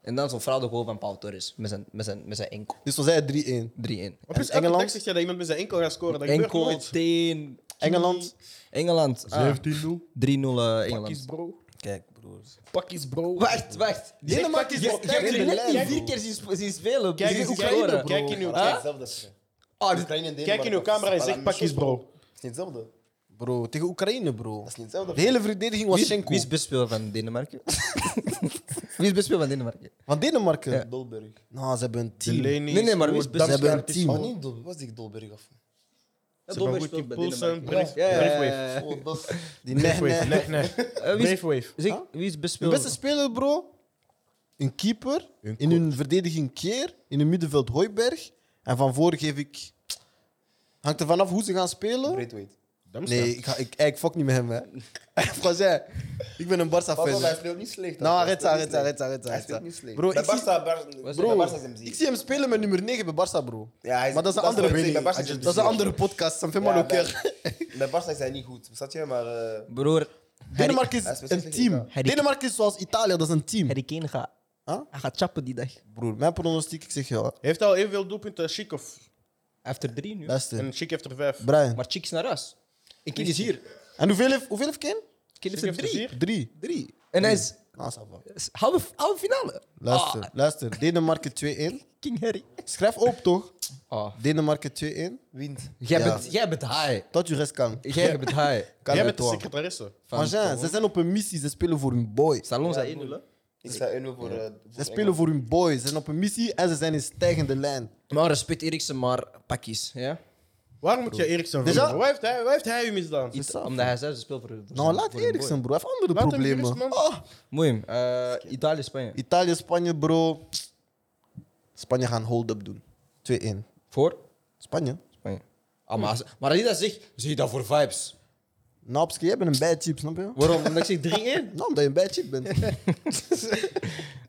B: En dan zo'n fraude goal van Paul Torres met zijn, met zijn, met zijn enkel.
A: Dus we zeiden 3-1.
B: 3-1.
D: Op plus,
A: En
D: elke
A: Engeland?
D: dag zeg je dat iemand met zijn enkel gaat scoren. Dat gebeurt
B: Enkel,
D: nooit.
B: teen.
A: Engeland.
B: Engeland. ah, 3-0 eh,
D: Pakkies,
B: Engeland.
D: bro.
A: Kijk, broers.
D: Pakkies, bro.
B: Wacht, wacht.
D: Zeg, pak
B: Denemarken
D: eens
B: je,
D: op.
B: je hebt
A: Kijk,
B: jullie net die
A: kijk.
B: vier keer zien, sp- zien spelen.
D: Kijk
B: zien
D: eens,
B: scoren.
D: Oekraïne, bro.
C: Kijk in uw
D: Ah?
C: camera. Hetzelfde.
B: Ah, dus-
C: Oekraïne en
D: Kijk in uw
C: Denemarken.
D: camera en
C: Voilà,
D: zeg
C: maar
D: pakkies,
C: zo,
D: bro.
C: Het is niet hetzelfde.
A: Bro, tegen Oekraïne, bro.
C: Dat is niet hetzelfde.
A: De hele verdediging was
B: wie, wie
A: Schenko.
B: is bespeler van Denemarken? wie is bespeler van Denemarken?
A: Van Denemarken?
C: Dolberg.
A: Nou, ze hebben een
D: De
A: team.
D: Leni
B: Nee, nee, maar wie is
D: scoort,
B: best-
A: Ze hebben een team.
C: Oh, niet Dolberg. Was ik Dolberg af?
D: Ze hebben goed die Poulsen, Brave
B: Ja, ja, ja, ja.
D: Brave
C: Oh, dat is...
A: Die nee,
D: Wave.
A: nee.
D: Nee, nee.
B: Eh, wie is-
D: Brave Wave.
B: zeg, Wie is
A: Hun
B: bespeler?
A: beste speler, bro. Een keeper.
D: Een
A: in hun verdediging Keer. In hun middenveld Hooiberg. En van voren geef ik... Hangt er vanaf hoe ze gaan spelen.
C: Breedweight.
A: Nee, ik, ga, ik, ik fuck niet met hem, hè. Franzijn, ik ben een
C: Pas op, hij
A: Barca-fan.
C: speelt niet slecht.
A: Nou,
C: hij
A: arrête,
C: speelt niet
A: arrête,
C: slecht.
A: arrête, arrête,
C: Hij
A: arrête.
C: speelt niet slecht.
A: Bro,
C: Bij
A: ik zie-
C: Barca- Bar-
A: Bro,
C: bij Barca is hem
A: ik
C: ziek.
A: zie hem spelen met nummer 9 bij Barca, bro.
C: Ja, hij is-
A: maar dat is een
C: dat is
A: andere,
C: wat ik zeg, bij Barca is
A: dat
C: hem
A: is een
C: ziek.
A: andere podcast. Ça me fait mal
C: Ja,
A: au cœur.
C: bij- Bij Barca is hij niet goed. Zat je maar... eh,
B: Broer,
A: Denemarken
C: Hij
A: is
C: is
A: een
C: specifiek
A: team.
C: Italië.
B: Harry-
A: Denemarken is zoals Italië, dat is een team.
B: Harry Kane gaat...
A: Huh?
B: Hij gaat chappen die dag. Hij
A: Broer, mijn pronostiek, ik zeg jou.
D: Heeft al evenveel doelpunten als Chic of...
B: heeft er drie nu.
A: Luister,
D: En Chic heeft er vijf.
A: Brian.
B: Maar Chicks naar huis. En Kane is hier.
A: En hoeveel heeft, hoeveel heeft Kane?
B: Kane heeft
D: Chick
B: er
D: heeft er
B: drie.
D: vier.
A: Drie.
B: Drie. En hij is
A: Ah, ça va.
B: is halve, halve finale.
A: Luister,
B: Ah,
A: luister. Denemarken 2-1.
B: King Harry.
A: Schrijf op, toch?
B: Ah.
A: Denemarken 2-1.
C: Wint.
B: Jij,
A: Ja.
B: bent, jij bent high.
A: Tot je rest kan.
B: Jij bent high.
A: Kan
D: Jij
A: met
D: bent de
A: toi.
D: secretaresse.
A: Maar Jean, ze zijn op een missie. Ze spelen voor hun boy.
B: Salon
C: Ja,
B: zei
C: broer.
B: 1
C: Ik sta 1-0 voor... eh,
A: Ze
C: voor
A: spelen voor hun boy. Ze zijn op een missie en ze zijn in stijgende lijn.
B: Maar respect Eriksen, maar pakjes. Ja?
D: Waarom moet je Eriksen
A: Dus
D: vermoorden?
A: ja-
D: Waar heeft hij, waar heeft hij u misdaan?
B: Iets- omdat hij zelf speelt voor voor
A: Nou,
B: zijn-
A: laat
B: voor een boy.
A: Eriksen, bro. Hij heeft andere
D: Laat hem gerust,
A: problemen.
D: man.
A: Ah,
B: Mooi. hem. Eh, Italië, Spanje.
A: Italië, Spanje, bro. Spanje gaan hold-up doen. 2-1.
B: voor?
A: Spanje.
B: Spanje. Ah, maar, als- maar als je dat zegt, zie je dat voor vibes.
A: Napski, Nou, jij bent een bad chip, snap je?
B: Waarom? Omdat ik zeg 3-1?
A: Nou, omdat je een bad chip bent.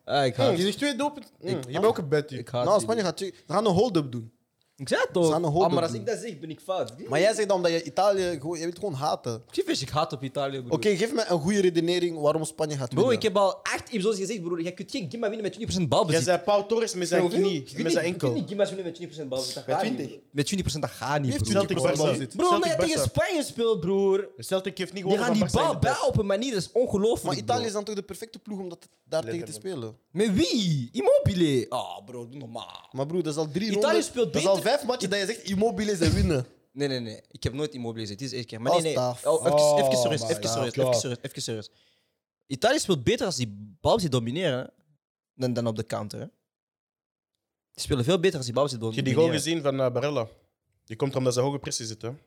B: Ah, ik
D: Hm,
B: haat
D: Je
B: het.
D: zegt twee doelpunten. Hm, Je bent ook een betty.
B: Ik haat
A: nou,
B: het.
A: Spanje gaat, twee- ze gaan een hold-up doen.
B: Ik zei het
A: Ze
B: toch?
A: gaan een
B: Ah,
A: hold-up
B: maar als
A: doen.
B: ik dat zeg, ben ik fout.
A: Maar jij zegt dan omdat je Italië, gewoon, je wilt gewoon haten. Oké,
B: Chief is, ik haat op Italië, broer.
A: geef me een goede redenering waarom Spanje gaat
B: Bro,
A: winnen.
B: ik heb al acht episodes gezegd, broer. Jij kunt geen Gimma winnen met 20%
D: Jij
B: balbezit.
D: zei Paul Torres met zijn
B: Hoeveel?
D: knie,
B: Je kunt
D: met
B: niet-
D: zijn
B: Je kunt
D: enkel.
B: niet Gimma's winnen met 20% balbezit.
C: Met
B: Met
C: 20?
B: Met 20% dat gaat niet, broer.
D: Celtic Barca zit.
B: Bro, omdat je
D: Celtic
B: tegen
D: Barca.
B: Spanje speelt, broer.
D: Celtic heeft niet
B: Die
D: gewonnen
B: gaan die
D: van Barca in
B: bal
D: de
B: bij
D: tijd.
B: op een manier, dat is ongelooflijk.
A: maar
B: bro.
A: Italië is dan toch de perfecte ploeg om dat daar tegen te spelen?
B: Met wie? Immobile. Ah, bro, doe normaal.
A: Maar broer, dat is al drie
B: Italië
A: ronden.
B: speelt
A: Dat is al
B: beter.
A: vijf matchen dat je zegt Immobile is een winnen.
B: Nee, nee, nee. Ik heb nooit Immobile gezien. Het is één keer. Maar nee, nee.
A: Asta
B: Oh, even, even serieus,
D: my
B: even
D: God.
B: serieus, even serieus, even serieus. Italië speelt beter als die balbezit domineren hè, dan, dan op de counter. Hè. Die spelen veel beter als die balbezit
D: Heb je
B: domineren.
D: die goal gezien van eh, Barella? Die komt omdat ze hoge pressie zitten.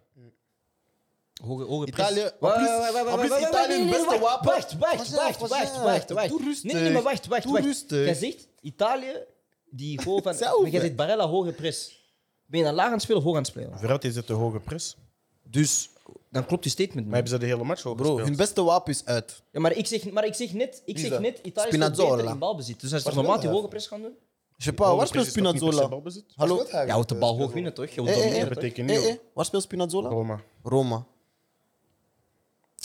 B: Hoge, hoge
A: Italië.
B: Wa-
A: Maar
B: wa- wa- wa- wa-
A: plus,
B: wa- wa-
A: Italië
B: nee,
A: het
B: nee,
A: beste
B: wacht,
A: wapen.
B: Wacht, wacht, wacht, wacht, wacht, wacht.
A: Doe rustig.
B: Nee, nee, maar wacht, wacht,
A: Doe
B: wacht.
A: rustig.
B: Jij zegt Italië, die goal van...
A: Zelf,
B: Maar jij
A: hè.
B: zegt Barella hoge press. Ben je dan laag aan het spelen of hoog aan het spelen?
D: Verratti zit de hoge press.
B: Dus, dan klopt je statement
D: Maar
B: niet.
D: hebben ze de hele match hoog
A: Bro, hun
D: gespeeld?
A: beste wapen is uit.
B: Ja, maar ik zeg, maar ik zeg net, ik zeg
C: dat?
B: net Italië speelt
A: Spinazzola.
B: beter in balbezit. Dus als ze normaal die
C: hij?
B: hoge press gaan doen...
A: Je weet pas, waar speelt Spinazzola? Hallo?
C: Wat hij-
B: Ja, houdt de bal hoog winnen, toch? Je wilt
A: Eh, eh,
B: domineren,
A: eh,
B: toch?
D: betekent
A: Eh,
D: niet.
A: eh, waar speelt Spinazzola?
D: Roma.
A: Roma.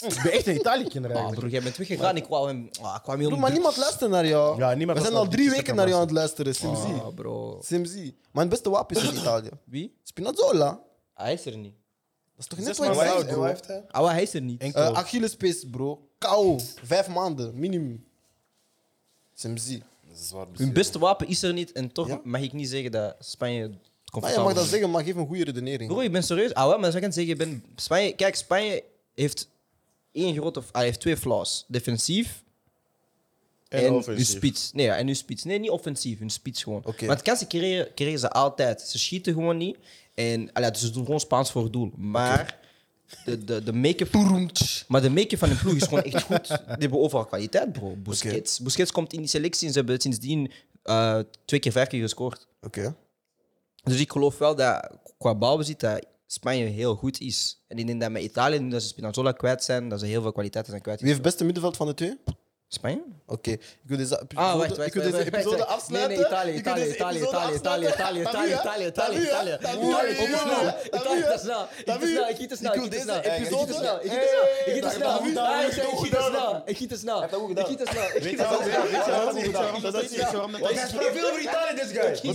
D: Ik ben echt een Italië-kinder
B: Ah, broer, jij bent weggegaan. Ik wou hem... Ah, ik kwam heel
A: Bro, maar niemand luistert naar jou.
D: Ja, niemand
A: We zijn
D: luistert
A: al
D: naar
A: drie
D: die
A: weken
D: stukken
A: naar jou aan het luisteren, Simzi.
B: Ah, bro.
A: Simzi. Mijn beste wapen is in Italië.
B: Wie?
A: Spinazzola.
B: Ah, hij is er niet.
A: Dat is toch net
D: Zes
A: wat ik
D: maanden
A: zei,
D: oud,
C: En wat
A: bro.
C: heeft hij?
B: Ah, hij is er niet.
D: Enkel.
A: Eh Achillespees, bro. Kou. Vijf maanden, minimum. Simzi.
C: Dat is zwaar
B: Hun
C: blessure.
B: beste wapen is er niet en toch
A: Dus, eh, Ja?
B: mag ik niet zeggen dat Spanje het
A: Ah, je mag
B: comfortabel
A: dat
B: is.
A: zeggen, maar geef een goede redenering.
B: Broer, ik ben serieus. Ah, wel, maar dat is wat ik aan het zeggen ik ben. Spanje, kijk, Spanje heeft één grote. Ah, hij heeft twee flaws: defensief en, hun spits. Nee, ja, en hun spits. Nee, niet offensief, hun spits gewoon.
A: Oké.
B: Want kansen creëren, creëren ze altijd. Ze schieten gewoon niet. En ah ja, dus ze doen gewoon Spaans voor het doel. Maar de, de, de make-up. Maar de make-up van de ploeg is gewoon echt goed. Die hebben overal kwaliteit, bro. Busquets. Busquets komt in die selectie en ze hebben sindsdien eh, twee keer vijf keer gescoord.
A: Oké.
B: Dus ik geloof wel dat qua balbezit dat Spanje heel goed is. En ik denk dat met Italië, nu dat ze Spinazzola kwijt zijn, dat ze heel veel kwaliteiten zijn kwijt.
A: Wie heeft het beste middenveld van de twee? Oké.
B: Spanje?
A: Ik wil deze episode,
B: Ah, wacht,
A: ik
B: wacht.
A: wil
B: wacht,
A: deze
B: wacht,
A: episode
B: wacht.
A: afsluiten.
B: Nee, nee, Italië,
A: Ik wil
B: Italië,
A: deze
B: Italië,
A: episode
B: Italië, Italië, Italië,
A: afsluiten.
B: Italië, Italië, Italië, Italië, Italië.
A: Tabu, hè?
B: Italië, ik snel. Italië, ik te snel. Ik te snel, ik giet te snel. Ik giet te snel. Ik giet te snel. Ik giet te snel. Ik giet te snel. Ah, ik zei, ik giet te snel. Ik giet te snel. Ik giet te snel. Ik giet te snel.
C: Hij spreekt veel over Italië, this guy.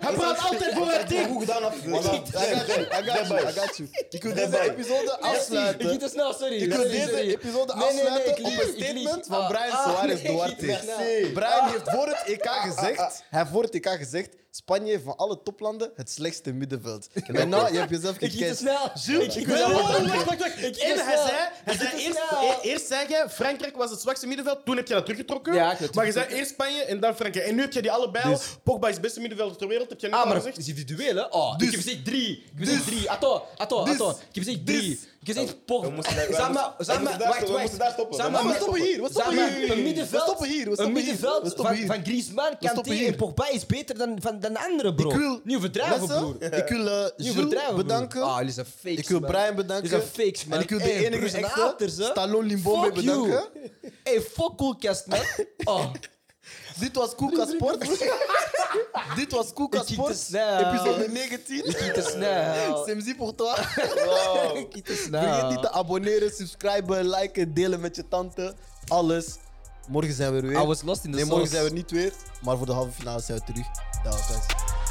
A: Hij praat altijd voor het team.
C: Goed gedaan, af.
A: I got you, I got you, I got you. Ik wil deze
C: Daarbij.
A: episode
B: Ik giet
A: afsluiten.
B: te snel, sorry.
A: Ik wil
B: Sorry,
A: deze
B: sorry.
A: episode
B: Nee, nee, nee,
A: afsluiten
B: ik
A: op
B: lieg,
A: een
B: ik lieg.
A: statement van
B: Ah,
A: Brian
B: ah,
A: Suarez
B: nee,
A: Duarte.
B: ik lieg. Nee. Ah,
A: Brian heeft voor het EK gezegd, hij heeft voor het EK gezegd, Spanje heeft van alle toplanden het slechtste middenveld. En nou, je hebt jezelf
B: Ik giet te
A: gekend.
B: snel. Ik giet te snel. Ik giet te
D: En hij
B: snel.
D: zei, hij
B: Ik
D: zei
B: giet te
D: eerst,
B: snel.
D: e- eerst zei jij, Frankrijk was het zwakste middenveld, toen heb je dat teruggetrokken.
B: Ja, ik heb het Dus-
D: maar je zei eerst Spanje en dan Frankrijk. En nu heb je die allebei al. Pogba is het beste middenvelder ter wereld, heb je net
B: Ah,
D: al
B: maar
D: gezegd.
B: is individueel, hè? Oh,
A: Dus-
B: ik heb gezegd drie. Ik heb gezegd drie. Atto, atto, atto. Ik heb gezegd
A: dus-
B: drie. Ik heb gezegd
C: We
B: pocht.
C: moesten daar- we
B: Zeg
C: moesten-
B: maar,
C: we
B: zeg maar,
C: moesten daar
B: wacht,
C: stoppen, we moesten daar stoppen.
B: Zeg
C: We
B: maar,
A: Maar we stoppen hier, we stoppen
B: zeg maar,
A: hier.
B: Een middenveld,
A: We stoppen hier, we
B: een
A: stoppen hier,
B: middenveld
A: we stoppen
B: van,
A: hier.
B: van Griezmann,
A: stoppen
B: Kanté
A: hier.
B: en Pogba is beter dan, van, dan de andere, bro.
A: Ik wil-
B: Niet overdrijven,
A: Mensen,
B: broer.
A: Ik wil eh,
B: Niet
A: Jules
B: overdrijven, broer.
A: bedanken.
B: Ah, jullie zijn fakes,
A: Ik wil
B: man.
A: Brian bedanken.
B: Jullie zijn fakes, man.
A: En ik wil de
B: Hey,
A: enige
B: broer,
A: zijn
B: ik
A: echte,
B: haat er ze.
A: Stallone Limbombe
B: Fuck you.
A: bedanken.
B: Hey, fuck Coolcast, man. Oh,
A: Dit was Koeka Sport. Dit was Koeka
B: Ik ging te
A: Sport.
B: snel.
A: Episode 19.
B: te snel.
A: C'est mzi pour toi.
B: ik te
A: Vergeet
B: snel.
A: niet te abonneren, subscriben, liken, delen met je tante. Alles. Morgen zijn we er weer.
B: I was lost in the
A: nee, morgen
B: sauce.
A: zijn we er niet weer. Maar voor de halve finale zijn we terug. Dag, guys.